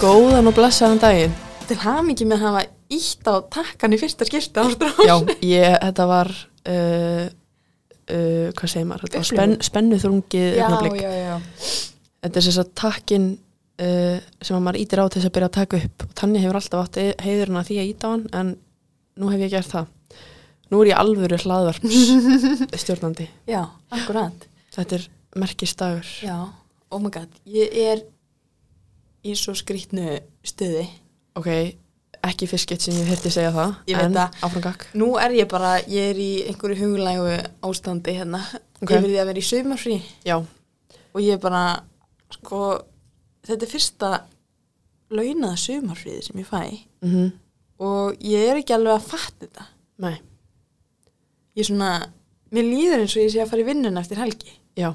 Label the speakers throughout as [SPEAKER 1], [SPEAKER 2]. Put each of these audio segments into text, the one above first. [SPEAKER 1] Góðan og blessaðan daginn.
[SPEAKER 2] Til hamingi með að hafa ítt á takkan í fyrsta skipti á
[SPEAKER 1] Já,
[SPEAKER 2] strán.
[SPEAKER 1] ég, þetta var, uh, uh, hvað segir maður, þetta var spenn,
[SPEAKER 2] Upplifun.
[SPEAKER 1] spennuþrungið augnablik.
[SPEAKER 2] já, já.
[SPEAKER 1] Þetta er þess að takkin uh, sem að maður ítir á til þess að byrja að taka upp. Og Tanja hefur alltaf átt e- heiðurinn að því að íta á hann, en nú hef ég gert það. Nú er ég alvöru hlaðvarps stjórnandi.
[SPEAKER 2] Já, akkurat.
[SPEAKER 1] Þetta er merkistagur.
[SPEAKER 2] Já, oh my god. Ég er í svo skrýtnu stuði.
[SPEAKER 1] Ok, ekki fyrst gett sem ég hérti segja það.
[SPEAKER 2] Ég veit
[SPEAKER 1] en
[SPEAKER 2] það.
[SPEAKER 1] Áfram gakk.
[SPEAKER 2] Nú er ég bara, ég er í einhverju huglægu ástandi hérna.
[SPEAKER 1] Ok.
[SPEAKER 2] Ég verði að vera í saumarfrí
[SPEAKER 1] Já,
[SPEAKER 2] og ég er bara, sko, þetta er fyrsta launaða saumarfríði sem ég fæ
[SPEAKER 1] mhm,
[SPEAKER 2] og ég er ekki alveg að fatta þetta.
[SPEAKER 1] nei,
[SPEAKER 2] Ég er svona, mér líður eins og ég sé að fara í vinnun eftir helgi.
[SPEAKER 1] já.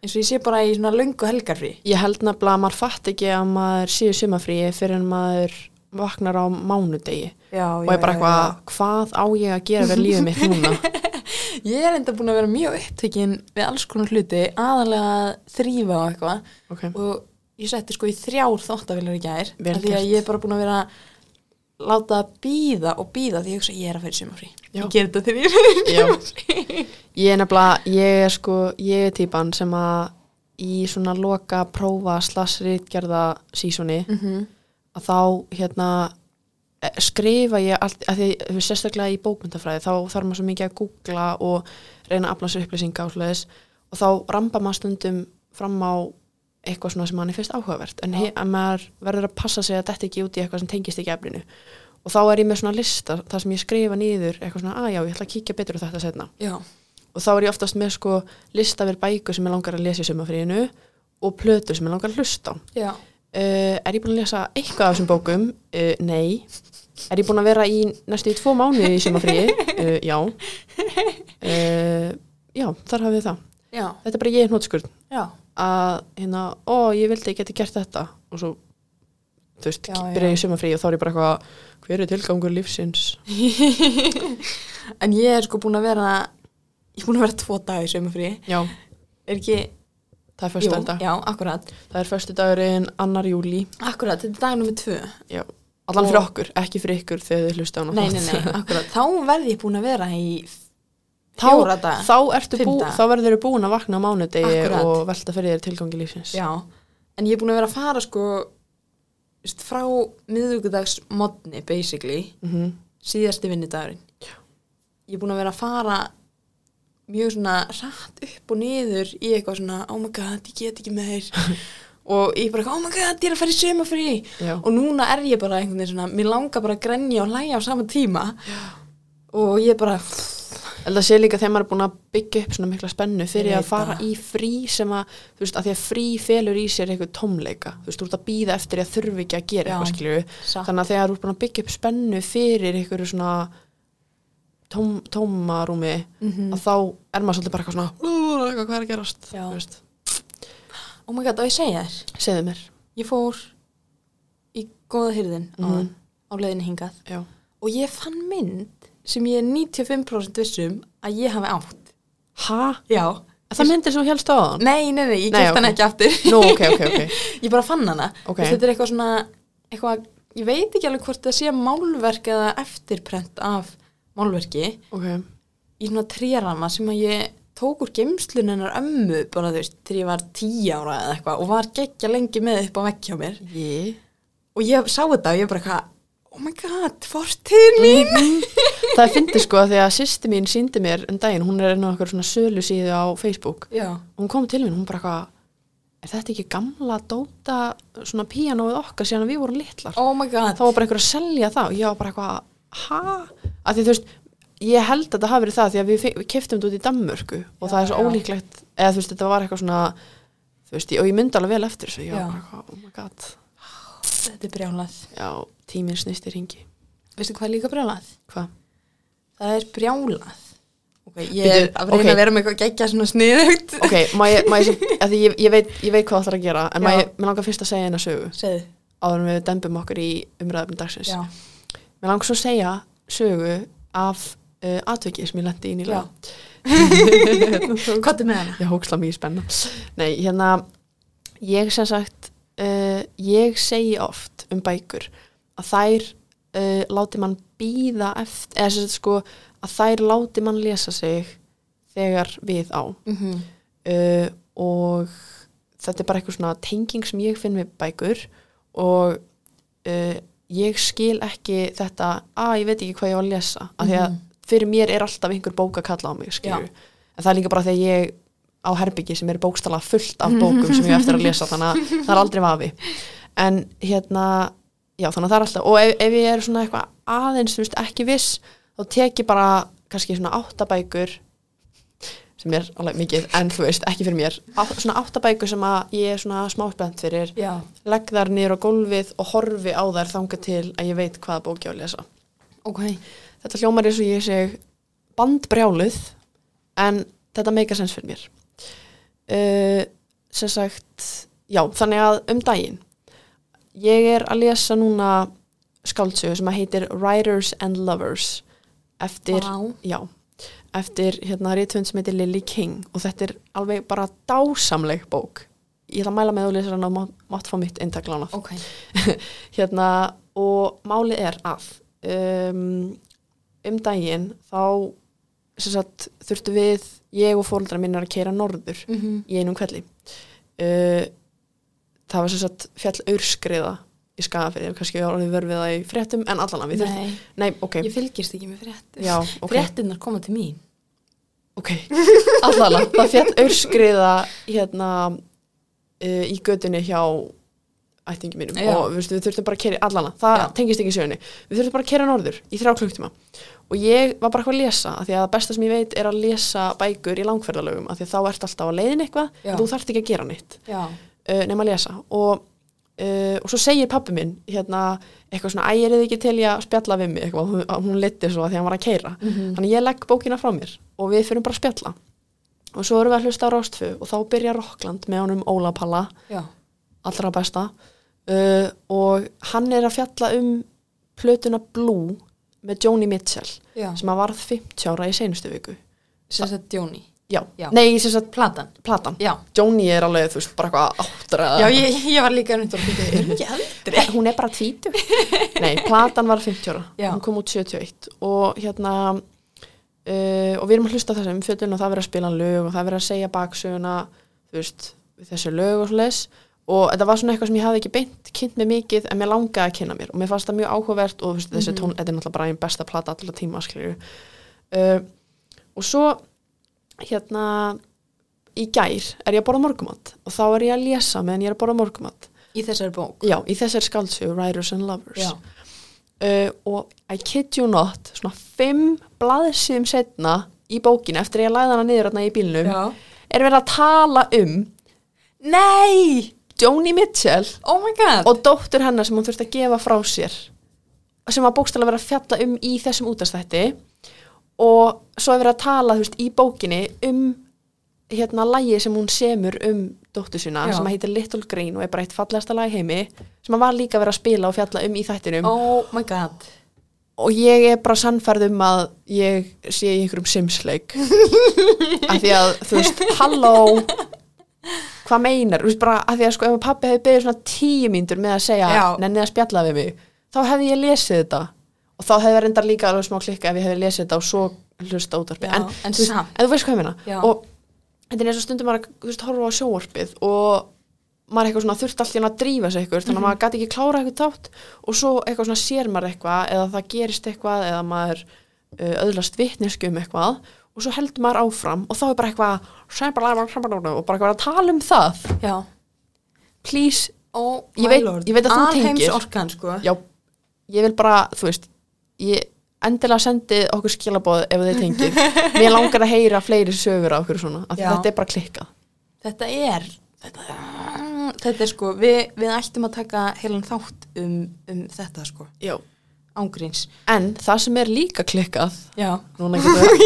[SPEAKER 2] eins og ég sé bara í svona löngu helgarfrí
[SPEAKER 1] Ég held nefnilega að maður fatt ekki að maður séu sumafríi fyrir en maður vaknar á mánudegi
[SPEAKER 2] já,
[SPEAKER 1] og er bara eitthvað, hvað á ég að gera við lífið mitt núna?
[SPEAKER 2] ég er enda búin að vera mjög upptekinn við alls konar hluti, aðalega að þrýfa og eitthvað
[SPEAKER 1] Ok,
[SPEAKER 2] og ég setti sko í þrjár þóttavilar í gær
[SPEAKER 1] Vel
[SPEAKER 2] af því
[SPEAKER 1] gert.
[SPEAKER 2] að ég er bara búin að vera að láta að býða og býða því ég hugsa ég er að fyrir sumafrí
[SPEAKER 1] Já.
[SPEAKER 2] ég ger þetta þegar ég er að fyrir
[SPEAKER 1] Já.
[SPEAKER 2] sumafrí
[SPEAKER 1] ég er nefnilega, ég er sko, ég er típan sem að í svona loka prófa slassriðgerða sísoni að þá hérna eh, skrifa ég allt, að því þú veist, sérstaklega í bókmyndafræði þá þarf maður svo mikið að googla og reyna að afla sér upplýsinga og svoleiðis og þá ramba maður stundum fram á eitthvað svona sem manni finnst áhugavert en he- að maður verður að passa sig að þetta ekki út í eitthvað sem tengist ekki eflinu og þá er ég með svona lista þar sem ég skrifa niður eitthvað svona, að já, ég ætla að kíkja betur á þetta setna
[SPEAKER 2] já,
[SPEAKER 1] og þá er ég oftast með sko lista verið bækur sem ég langar að lesa í sömafríinu og plötur sem ég langar að hlusta á
[SPEAKER 2] já,
[SPEAKER 1] uh, er ég búin að lesa eitthvað af þessum bókum? Uh, nei. Er ég búin að vera í næstu í tvo mánuði í sumafríi? Uh, já. Uh, já, þar hafið þið það.
[SPEAKER 2] já,
[SPEAKER 1] Þetta er bara ég hnótskurð
[SPEAKER 2] já,
[SPEAKER 1] að hérna, ó, ég vildi ég geti gert þetta og svo, þú veist,
[SPEAKER 2] Já,
[SPEAKER 1] já,
[SPEAKER 2] já.
[SPEAKER 1] byrja ég sumafríi og þá er ég bara eitthvað, hver er tilgangur lífsins?
[SPEAKER 2] en ég er sko búin að vera ég er búin að vera tvo dag í sumafrí
[SPEAKER 1] Já,
[SPEAKER 2] er ekki,
[SPEAKER 1] það er förstu dag.
[SPEAKER 2] já, akkurat
[SPEAKER 1] Það er förstu dagurinn annar júli.
[SPEAKER 2] akkurat, þetta er dag nummið tvö
[SPEAKER 1] Já. Allan
[SPEAKER 2] Og-
[SPEAKER 1] fyrir okkur, ekki fyrir ykkur þegar þið hlusta á
[SPEAKER 2] Nei, nei, nei, akkurat. Þá verði ég búin að vera í
[SPEAKER 1] Þá-
[SPEAKER 2] fjóra daga.
[SPEAKER 1] Þá, ertu
[SPEAKER 2] Fimm
[SPEAKER 1] bú,
[SPEAKER 2] daga.
[SPEAKER 1] þá verður þau búin að vakna á mánudegi
[SPEAKER 2] Akkúrat.
[SPEAKER 1] og velta fyrir þér tilgangi lífsins.
[SPEAKER 2] Já, en ég er búin að vera að fara sko veist, frá miðvíkudags modni, basically,
[SPEAKER 1] Mhm.
[SPEAKER 2] síðasti vinnudagurinn. Ég er búin að vera að fara mjög svona rætt upp og niður í eitthvað svona, oh my god, ég get ekki meir. og ég er bara, eitthvað, oh my god, ég er að fara í sömafrí.
[SPEAKER 1] Já.
[SPEAKER 2] Og núna er ég bara einhvern veginn svona, mér langar bara að grenja og hlæja á sama tíma. Og ég er bara,
[SPEAKER 1] En það sé líka þegar maður er búin að byggja upp svona mikla spennu fyrir að
[SPEAKER 2] Ég veit
[SPEAKER 1] fara
[SPEAKER 2] það.
[SPEAKER 1] í frí sem að, þú veist, að því að frí felur í sér eitthvað tómleika. Þú veist, þú ert að býða eftir að þurfi ekki að gera
[SPEAKER 2] Já.
[SPEAKER 1] eitthvað, skilju.
[SPEAKER 2] satt.
[SPEAKER 1] Þannig að þegar þú ert búin að byggja upp spennu fyrir eitthvað svona tóm, tómarúmi, að þá er maður svolítið bara eitthvað svona, "Ú, eitthvað, hvað er að gerast?
[SPEAKER 2] Mhm. Já.
[SPEAKER 1] Þú veist,
[SPEAKER 2] Oh my god, og ég segja þér.
[SPEAKER 1] segðu mér.
[SPEAKER 2] ég fór í góða hyrðin á,
[SPEAKER 1] Mhm.
[SPEAKER 2] á leiðinni hingað
[SPEAKER 1] Já.
[SPEAKER 2] og ég fann mynd sem ég er 95% vissum um að ég hafi átt.
[SPEAKER 1] Ha?
[SPEAKER 2] Já.
[SPEAKER 1] Er Það myndir sem þú helst á þann?
[SPEAKER 2] Nei, nei, nei, ég
[SPEAKER 1] Nei,
[SPEAKER 2] kæft hana
[SPEAKER 1] ok.
[SPEAKER 2] ekki aftur.
[SPEAKER 1] Nú, ok, ok, ok.
[SPEAKER 2] Ég bara fann hana.
[SPEAKER 1] Ok.
[SPEAKER 2] Þetta er eitthvað svona, eitthvað, ég veit ekki alveg hvort það sé málverk eða eftirprent af málverki
[SPEAKER 1] Ok,
[SPEAKER 2] í svona trérama sem að ég tók úr geimslunennar ömmu bara þú veist, þegar ég var 10 ára eða eitthvað og var geggja lengi með upp á vegg hjá mér.
[SPEAKER 1] ég
[SPEAKER 2] og ég sá þetta og ég bara eitthvað oh my god, fortíðin
[SPEAKER 1] Mm.
[SPEAKER 2] mín
[SPEAKER 1] Það fyndi sko að því að sýsti mín síndi mér um daginn, hún er enn á okkur svona sölu síðu á Facebook
[SPEAKER 2] já,
[SPEAKER 1] hún kom til mín, hún bara eitthvað er þetta ekki gamla dóta svona píanóið okkar síðan að við vorum litlar
[SPEAKER 2] oh my god
[SPEAKER 1] þá var bara einhver að selja það og ég var bara eitthvað ha? að því þú veist, ég held að þetta hafi verið það því að við, fe- við keftum þetta út í Danmörku og
[SPEAKER 2] Já,
[SPEAKER 1] það er svo
[SPEAKER 2] já.
[SPEAKER 1] ólíklegt eða þú veist, þetta var eitthvað svona þú veist, og ég myndi alveg vel eftir þessu ég
[SPEAKER 2] Já.
[SPEAKER 1] var bara eitthvað, oh my god
[SPEAKER 2] þetta er brjálað
[SPEAKER 1] já, tíminn snýst í ringi
[SPEAKER 2] veistu hvað er líka brjálað?
[SPEAKER 1] hvað?
[SPEAKER 2] það er brjálað ok, ég
[SPEAKER 1] Bíddu,
[SPEAKER 2] er að reyna
[SPEAKER 1] ok.
[SPEAKER 2] að vera með eitthvað geggja svona sniðugt
[SPEAKER 1] ok, má ég, má ég, sem, af því ég, ég, veit, ég veit hvað það ætlar að gera en má
[SPEAKER 2] Já.
[SPEAKER 1] ég, mér langar fyrst að segja eina sögu
[SPEAKER 2] segðu,
[SPEAKER 1] áður en við dembum okkur í umræðum dagsins
[SPEAKER 2] já,
[SPEAKER 1] mér langar svo að segja sögu af uh, atvikið sem ég lendi í nýlega
[SPEAKER 2] Já. hvað er með hana?
[SPEAKER 1] ég hóksla mjög spenna nei, hérna, ég sem sagt uh, ég segi oft um bækur að þær uh, láti mann býða eftir, eða sem sagt sko að þær láti mann lesa sig þegar við á
[SPEAKER 2] mm -hmm.
[SPEAKER 1] uh, og þetta er bara eitthvað svona tenging sem ég finn við bækur og uh, ég skil ekki þetta að ég veit ekki hvað ég á að lesa af því að
[SPEAKER 2] Mhm.
[SPEAKER 1] fyrir mér er alltaf einhver bók að kalla á mig skilur.
[SPEAKER 2] Já.
[SPEAKER 1] en það er líka bara því að ég á herbyggi sem er bókstala fullt af bókum sem ég á eftir að lesa þannig að það er aldrei vafi en hérna já þannig að það er alltaf og ef, ef ég er svona eitthvað aðeins þú veist, ekki viss þá tek ég bara kannski svona áttabækur sem er alveg mikið en þú veist ekki fyrir mér á, svona áttabækur sem að ég er svona smátbent fyrir
[SPEAKER 2] Já,
[SPEAKER 1] legg þær niður á gólfið og horfi á þær þanga til að ég veit hvaða bók ég á að lesa.
[SPEAKER 2] ok
[SPEAKER 1] Þetta hljómar eins og ég seg bandbrjáluð en þetta meika sens fyrir mér. Uh, sem sagt, já, þannig að um daginn. Ég er að lesa núna skáldsögu sem að heitir Writers and Lovers eftir
[SPEAKER 2] Vá.
[SPEAKER 1] Já, eftir hérna rítvönd sem heitir Lily King og þetta er alveg bara dásamleg bók. Ég ætla að mæla með þú lesir hann og mátt, mátt fá mitt eintaklánað.
[SPEAKER 2] Ok,
[SPEAKER 1] Hérna, og málið er að um, um daginn þá sem sagt, þurftu við, ég og fóreldra mínar að keira norður
[SPEAKER 2] mm -hmm.
[SPEAKER 1] í einum kvelli. Uh, það var sem sagt fjall aurskriða í skafið, kannski við orðið vörfið það í fréttum en allan að við þurftum.
[SPEAKER 2] Nei,
[SPEAKER 1] Nei, ok.
[SPEAKER 2] ég fylgist ekki með fréttir
[SPEAKER 1] Já, ok.
[SPEAKER 2] Fréttirnar koma til mín
[SPEAKER 1] Ok, allavega, það fjall aurskriða hérna uh, í götunni hjá ættingi mínum
[SPEAKER 2] Já.
[SPEAKER 1] og veistu, við þurftum bara að kera allana, það
[SPEAKER 2] Já.
[SPEAKER 1] tengist ekki sjöunni við þurftum bara að kera norður í þrjá klukktíma og ég var bara eitthvað að lesa af því að það besta sem ég veit er að lesa bækur í langferðalögum af því að þá ert alltaf að leiðin eitthvað
[SPEAKER 2] Já.
[SPEAKER 1] en þú þarft ekki að gera neitt
[SPEAKER 2] Já,
[SPEAKER 1] uh, nema að lesa og, uh, og svo segir pappi minn hérna, eitthvað svona, æ, er þið ekki til í að spjalla við mig eitthvað, hún, hún liti svo að því að hann var að keira þannig ég legg bókina frá mér og við fyrir bara að spjalla og svo erum við að hlusta á Rástfu og þá byrja Rokkland með honum Óla Palla
[SPEAKER 2] já,
[SPEAKER 1] allra besta uh, og hann er að fjalla um plötuna Blue með Joni Mitchell
[SPEAKER 2] já
[SPEAKER 1] sem að varð 50 ára í seinustu viku
[SPEAKER 2] Sem sagt Jóni
[SPEAKER 1] já,
[SPEAKER 2] Já.
[SPEAKER 1] nei, sem sagt
[SPEAKER 2] Platan
[SPEAKER 1] platan
[SPEAKER 2] Já,
[SPEAKER 1] Joni er alveg, þú veist, bara eitthvað áttra
[SPEAKER 2] já ég, ég var líka undir að byrja Er hún ekki eldri?
[SPEAKER 1] hún er bara tvítu nei, platan var 50 ára,
[SPEAKER 2] Já.
[SPEAKER 1] hún kom út 71 og hérna uh, og við erum að hlusta á þessa umfjöldun og það verið að spila lög og það verið að segja baksöguna þú veist, við þessu lög og svoleiðis og þetta var svona eitthvað sem ég hafði ekki beint kynnt mér mikið en mér langaði að kynna mér og mér fannst það mjög áhugavert og þú veist, þessi tón, þetta er náttúrulega bara einn besta plata allra tíma skilju uh, og svo hérna í gær er ég að borða morgumat og þá er ég að lesa meðan ég er að borða morgumat
[SPEAKER 2] Í þessari bók
[SPEAKER 1] Já, í þessari skáldsögu Writers and Lovers
[SPEAKER 2] Já,
[SPEAKER 1] uh, og I kid you not svona fimm blaðsíðum setna í bókinu eftir að ég læði hana niður hérna í bílnum
[SPEAKER 2] já.
[SPEAKER 1] er verið að tala um
[SPEAKER 2] Nei,
[SPEAKER 1] Joni Mitchell
[SPEAKER 2] oh my god
[SPEAKER 1] og dóttur hennar sem hún þurfti að gefa frá sér sem var bókstælega verið að fjalla um í þessum útastætti og svo er verið að tala þú veist, í bókinni um hérna lægi sem hún semur um dóttur sína
[SPEAKER 2] Já.
[SPEAKER 1] sem heitir Little Green og er bara eitt fallegasta lag í heimi sem hann var líka verið að spila og fjalla um í þættinum
[SPEAKER 2] Oh my god
[SPEAKER 1] og ég er bara sannfærð um að ég sé í einhverjum simsleik af því að þú veist, halló hvað meinar, þú veist bara af því að sko ef pappi hefði beðið svona tíu mínútur með að segja,
[SPEAKER 2] Já.
[SPEAKER 1] nennið að spjalla við mig þá hefði ég lesið þetta og þá hefði verið enda líka alveg smá klikka ef ég hefði lesið þetta og svo hlusta útvarpi
[SPEAKER 2] Já,
[SPEAKER 1] en,
[SPEAKER 2] en
[SPEAKER 1] þú veist,
[SPEAKER 2] samt.
[SPEAKER 1] en þú veist hvað ég meina
[SPEAKER 2] Já.
[SPEAKER 1] og þetta er eins og stundum maður þú veist, horfa á sjóvarpið og maður er eitthvað svona þurft allt í hann að drífa sig eitthvað,
[SPEAKER 2] Mhm.
[SPEAKER 1] þannig að maður gæti ekki klára eitthvað tátt og svo eitthvað svona sér maður eitthvað eða það gerist eitthvað eða maður uh, öðlast vitnesku um eitthvað og svo heldur maður áfram og þá er bara eitthvað "Shabalabalabala", og bara eitthvað að tala um það
[SPEAKER 2] Já,
[SPEAKER 1] please,
[SPEAKER 2] oh my
[SPEAKER 1] Ég veit-
[SPEAKER 2] lord
[SPEAKER 1] ég veit að þú tengir.
[SPEAKER 2] orkan sko
[SPEAKER 1] já, ég vil bara þú veist, ég endilega sendi okkur skilaboð ef þið tengir mér langar að heyra fleiri sögur af okkur svona, af því
[SPEAKER 2] Já.
[SPEAKER 1] þetta er bara klikkað
[SPEAKER 2] Þetta er þetta, þetta er sko, við, við ættum að taka heilan þátt um, um þetta sko,
[SPEAKER 1] já.
[SPEAKER 2] ángríns
[SPEAKER 1] en það sem er líka klikkað
[SPEAKER 2] Já,
[SPEAKER 1] Núna getur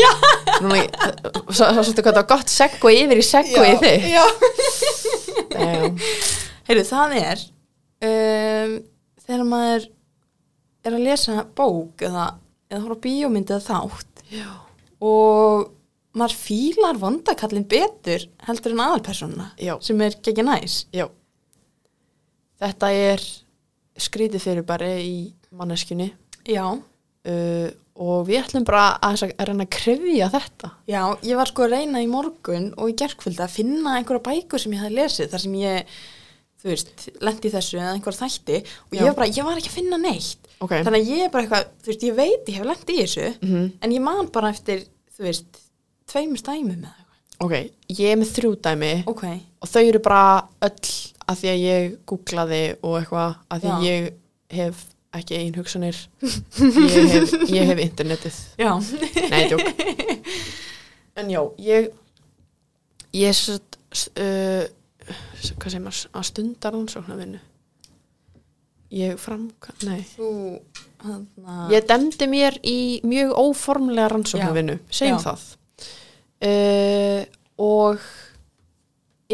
[SPEAKER 1] Núna, svo, svo svolítið hvað það var gott seggu yfir í seggu í þig
[SPEAKER 2] já.
[SPEAKER 1] Damn.
[SPEAKER 2] Heyrðu, það er um, þegar maður er að lesa bók eða, eða horfa á bíómynd eða þátt
[SPEAKER 1] Já.
[SPEAKER 2] og maður fílar vondakallin betur heldur en aðalpersónuna
[SPEAKER 1] Já.
[SPEAKER 2] sem er ekki næs
[SPEAKER 1] Já, þetta er skrítið fyrir bara í manneskjunni
[SPEAKER 2] Já,
[SPEAKER 1] uh, og við ætlum bara að, að reyna að krefja þetta
[SPEAKER 2] já, ég var sko að reyna í morgun og í gerkvölda að finna einhverja bækur sem ég hafði lesið þar sem ég, þú veist, lendi í þessu eða einhverja þætti og
[SPEAKER 1] Já.
[SPEAKER 2] ég var bara, ég var ekki að finna neitt.
[SPEAKER 1] ok,
[SPEAKER 2] Þannig að ég er bara eitthvað, þú veist, ég veit ég hef lendi í þessu
[SPEAKER 1] mm
[SPEAKER 2] en ég man bara eftir, þú veist, tveimur stæmum eða eitthvað.
[SPEAKER 1] ok ég er með þrjú dæmi
[SPEAKER 2] Ok,
[SPEAKER 1] og þau eru bara öll að því að ég googlaði og eitthvað að því að
[SPEAKER 2] Já.
[SPEAKER 1] ég hef ekki ein hugsanir ég hef, ég hef internetið
[SPEAKER 2] já,
[SPEAKER 1] nei, tjók en já, ég ég satt uh, hvað segir maður, að stundar rannsóknarvinnu ég framka, nei
[SPEAKER 2] þú, hann að,
[SPEAKER 1] ég demdi mér í mjög óformlega rannsóknarvinnu, segjum
[SPEAKER 2] já.
[SPEAKER 1] það uh, og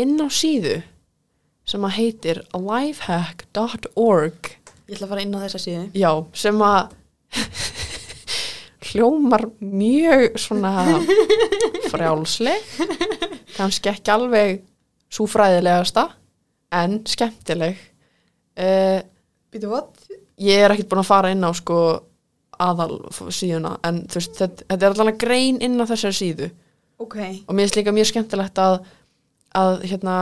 [SPEAKER 1] inn á síðu sem að heitir lifehack.org
[SPEAKER 2] ég ætla að fara inn á þessa síðu.
[SPEAKER 1] já, sem að hljómar mjög svona frjálsleg kannski ekki alveg svo fræðilegasta en skemmtileg uh,
[SPEAKER 2] Býtu, what?
[SPEAKER 1] ég er ekkert búin að fara inn á sko aðal f- síðuna en þú veist, þetta, þetta er allavega grein inn á þessari síðu
[SPEAKER 2] Ok,
[SPEAKER 1] og mér finnst líka mjög skemmtilegt að að hérna,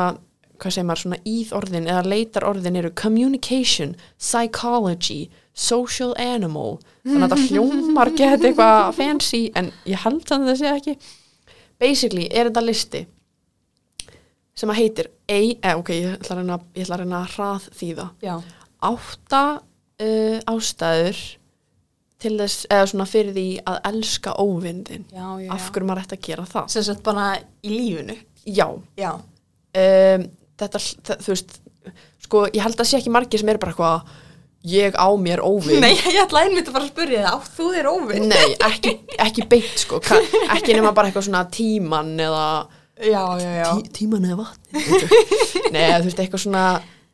[SPEAKER 1] hvað segir maður, svona íð orðin eða leitar orðin eru communication, psychology social animal þannig að þetta hljómar gett eitthvað fancy en ég held að það sé ekki basically er þetta listi sem að heitir A, eh, ok, ég ætla að reyna, ég ætla að reyna að hrað þýða
[SPEAKER 2] já,
[SPEAKER 1] átta uh, ástæður til þess, eða svona fyrir því að elska óvindin.
[SPEAKER 2] já, já.
[SPEAKER 1] Af hverju maður ætti að gera það?
[SPEAKER 2] Sem sagt bara í lífinu.
[SPEAKER 1] Já,
[SPEAKER 2] Já,
[SPEAKER 1] um, þetta, þa- þú veist, sko, ég held að sé ekki margir sem eru bara eitthvað, ég á mér óvin.
[SPEAKER 2] Nei, ég ætla einmitt að fara að spyrja það, átt þú þér óvinn?
[SPEAKER 1] Nei, ekki, ekki beint, sko, ka- ekki nema bara eitthvað svona tíman eða
[SPEAKER 2] Já, já, já.
[SPEAKER 1] tí, tíman eða vatn. Nei, þú veist, eitthvað svona,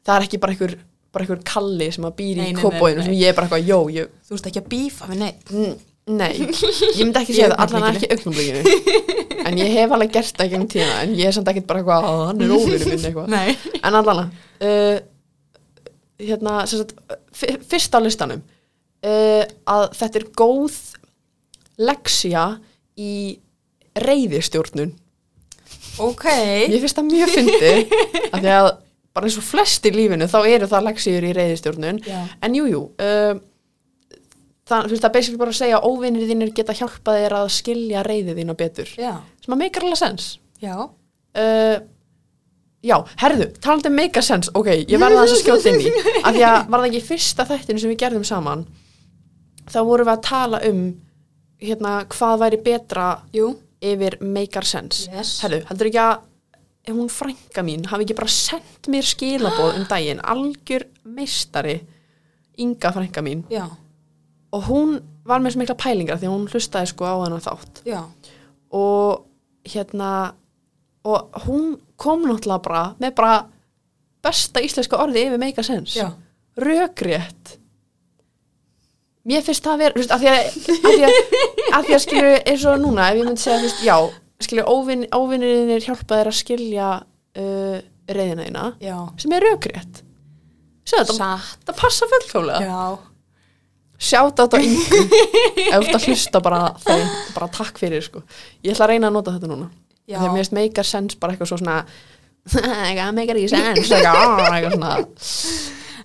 [SPEAKER 1] það er ekki bara einhver, bara einhver kalli sem að býr í
[SPEAKER 2] Nei, nei, nei,
[SPEAKER 1] kópóinu
[SPEAKER 2] nei.
[SPEAKER 1] sem ég er bara eitthvað, jó, ég
[SPEAKER 2] Þú ert ekki að bífa við neitt.
[SPEAKER 1] Mm, Nei, ég myndi ekki segja
[SPEAKER 2] Í
[SPEAKER 1] það, allan ekki augnumlíkinu En ég hef alveg gert það gegn tíma En ég er samt ekkert bara eitthvað að hann er óvinur minn eitthvað
[SPEAKER 2] Nei.
[SPEAKER 1] En allan uh, Hérna, sem sagt fyr- Fyrst á listanum uh, Að þetta er góð Leksja í Reyðistjórnun
[SPEAKER 2] Ok,
[SPEAKER 1] Ég finnst það mjög fyndi Af því að bara eins og flest í lífinu Þá eru það leksjur í reyðistjórnun
[SPEAKER 2] já,
[SPEAKER 1] En jú, jú, um, það, þú veist, það er basically bara að segja að óvinnir þínir geta hjálpað þér að skilja reyðið þína betur.
[SPEAKER 2] já,
[SPEAKER 1] Sem að meikar alveg sens.
[SPEAKER 2] já.
[SPEAKER 1] Uh, já, herðu, talandi um meikar sens, ok, ég verða þess að skjóta inn í. Af því að var það ekki í fyrsta þættinu sem við gerðum saman, þá vorum við að tala um hérna, hvað væri betra
[SPEAKER 2] Jú,
[SPEAKER 1] yfir meikar sens.
[SPEAKER 2] yes.
[SPEAKER 1] Herðu, heldur ekki að ef hún frænka mín hafi ekki bara sendt mér skilaboð um daginn, algjör meistari, Inga frænka mín
[SPEAKER 2] Já,
[SPEAKER 1] og hún var með svo mikla pælingar því að hún hlustaði sko á hennar þátt
[SPEAKER 2] já,
[SPEAKER 1] og hérna og hún kom náttúrulega bara með bara besta íslenska orði yfir make a sense
[SPEAKER 2] já.
[SPEAKER 1] rökrétt mér finnst það að vera þú veist, af því að, af því að, af því að skilju eins og núna ef ég myndi segja þú veist, já skilju óvin, óvinnirinn hjálpa þér að skilja uh, reyðina þína
[SPEAKER 2] Já.
[SPEAKER 1] sem er rökrétt Sjá, það,
[SPEAKER 2] Satt.
[SPEAKER 1] það passa fullkjólega
[SPEAKER 2] Já.
[SPEAKER 1] sjátt á þetta yngu ef þú ert að hlusta bara þeim bara takk fyrir sko ég ætla að reyna að nota þetta núna
[SPEAKER 2] Já.
[SPEAKER 1] þegar mér finnst meikar sens bara eitthvað svo svona "Ah, eitthvað meikar ekki sens eitthvað "Ah", eitthvað svona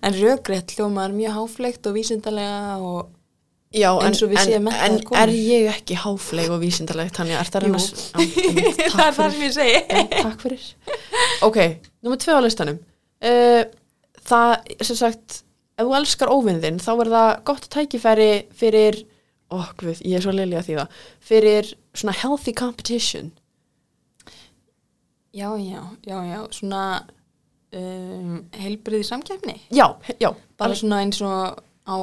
[SPEAKER 2] En rökrétt hljómaður mjög háflegt og vísindalega og...
[SPEAKER 1] Já, en,
[SPEAKER 2] Eins og við séum
[SPEAKER 1] en,
[SPEAKER 2] menntaðar
[SPEAKER 1] en
[SPEAKER 2] konur.
[SPEAKER 1] er ég ekki háfleg og vísindaleg þannig að ert að reyna
[SPEAKER 2] Jú.
[SPEAKER 1] að- Já, einmitt, takk
[SPEAKER 2] það er það
[SPEAKER 1] fyrir,
[SPEAKER 2] sem ég segi.
[SPEAKER 1] Já, takk fyrir ok, nummer tvö á listanum uh, það sem sagt ef þú elskar óvinnðinn þá er það gott tækifæri fyrir ó, guð, ég er svo liðlega því það fyrir svona healthy competition
[SPEAKER 2] Já, já, já, já. Svona um, heilbriði samkjafni.
[SPEAKER 1] já, já,
[SPEAKER 2] bara svona eins og á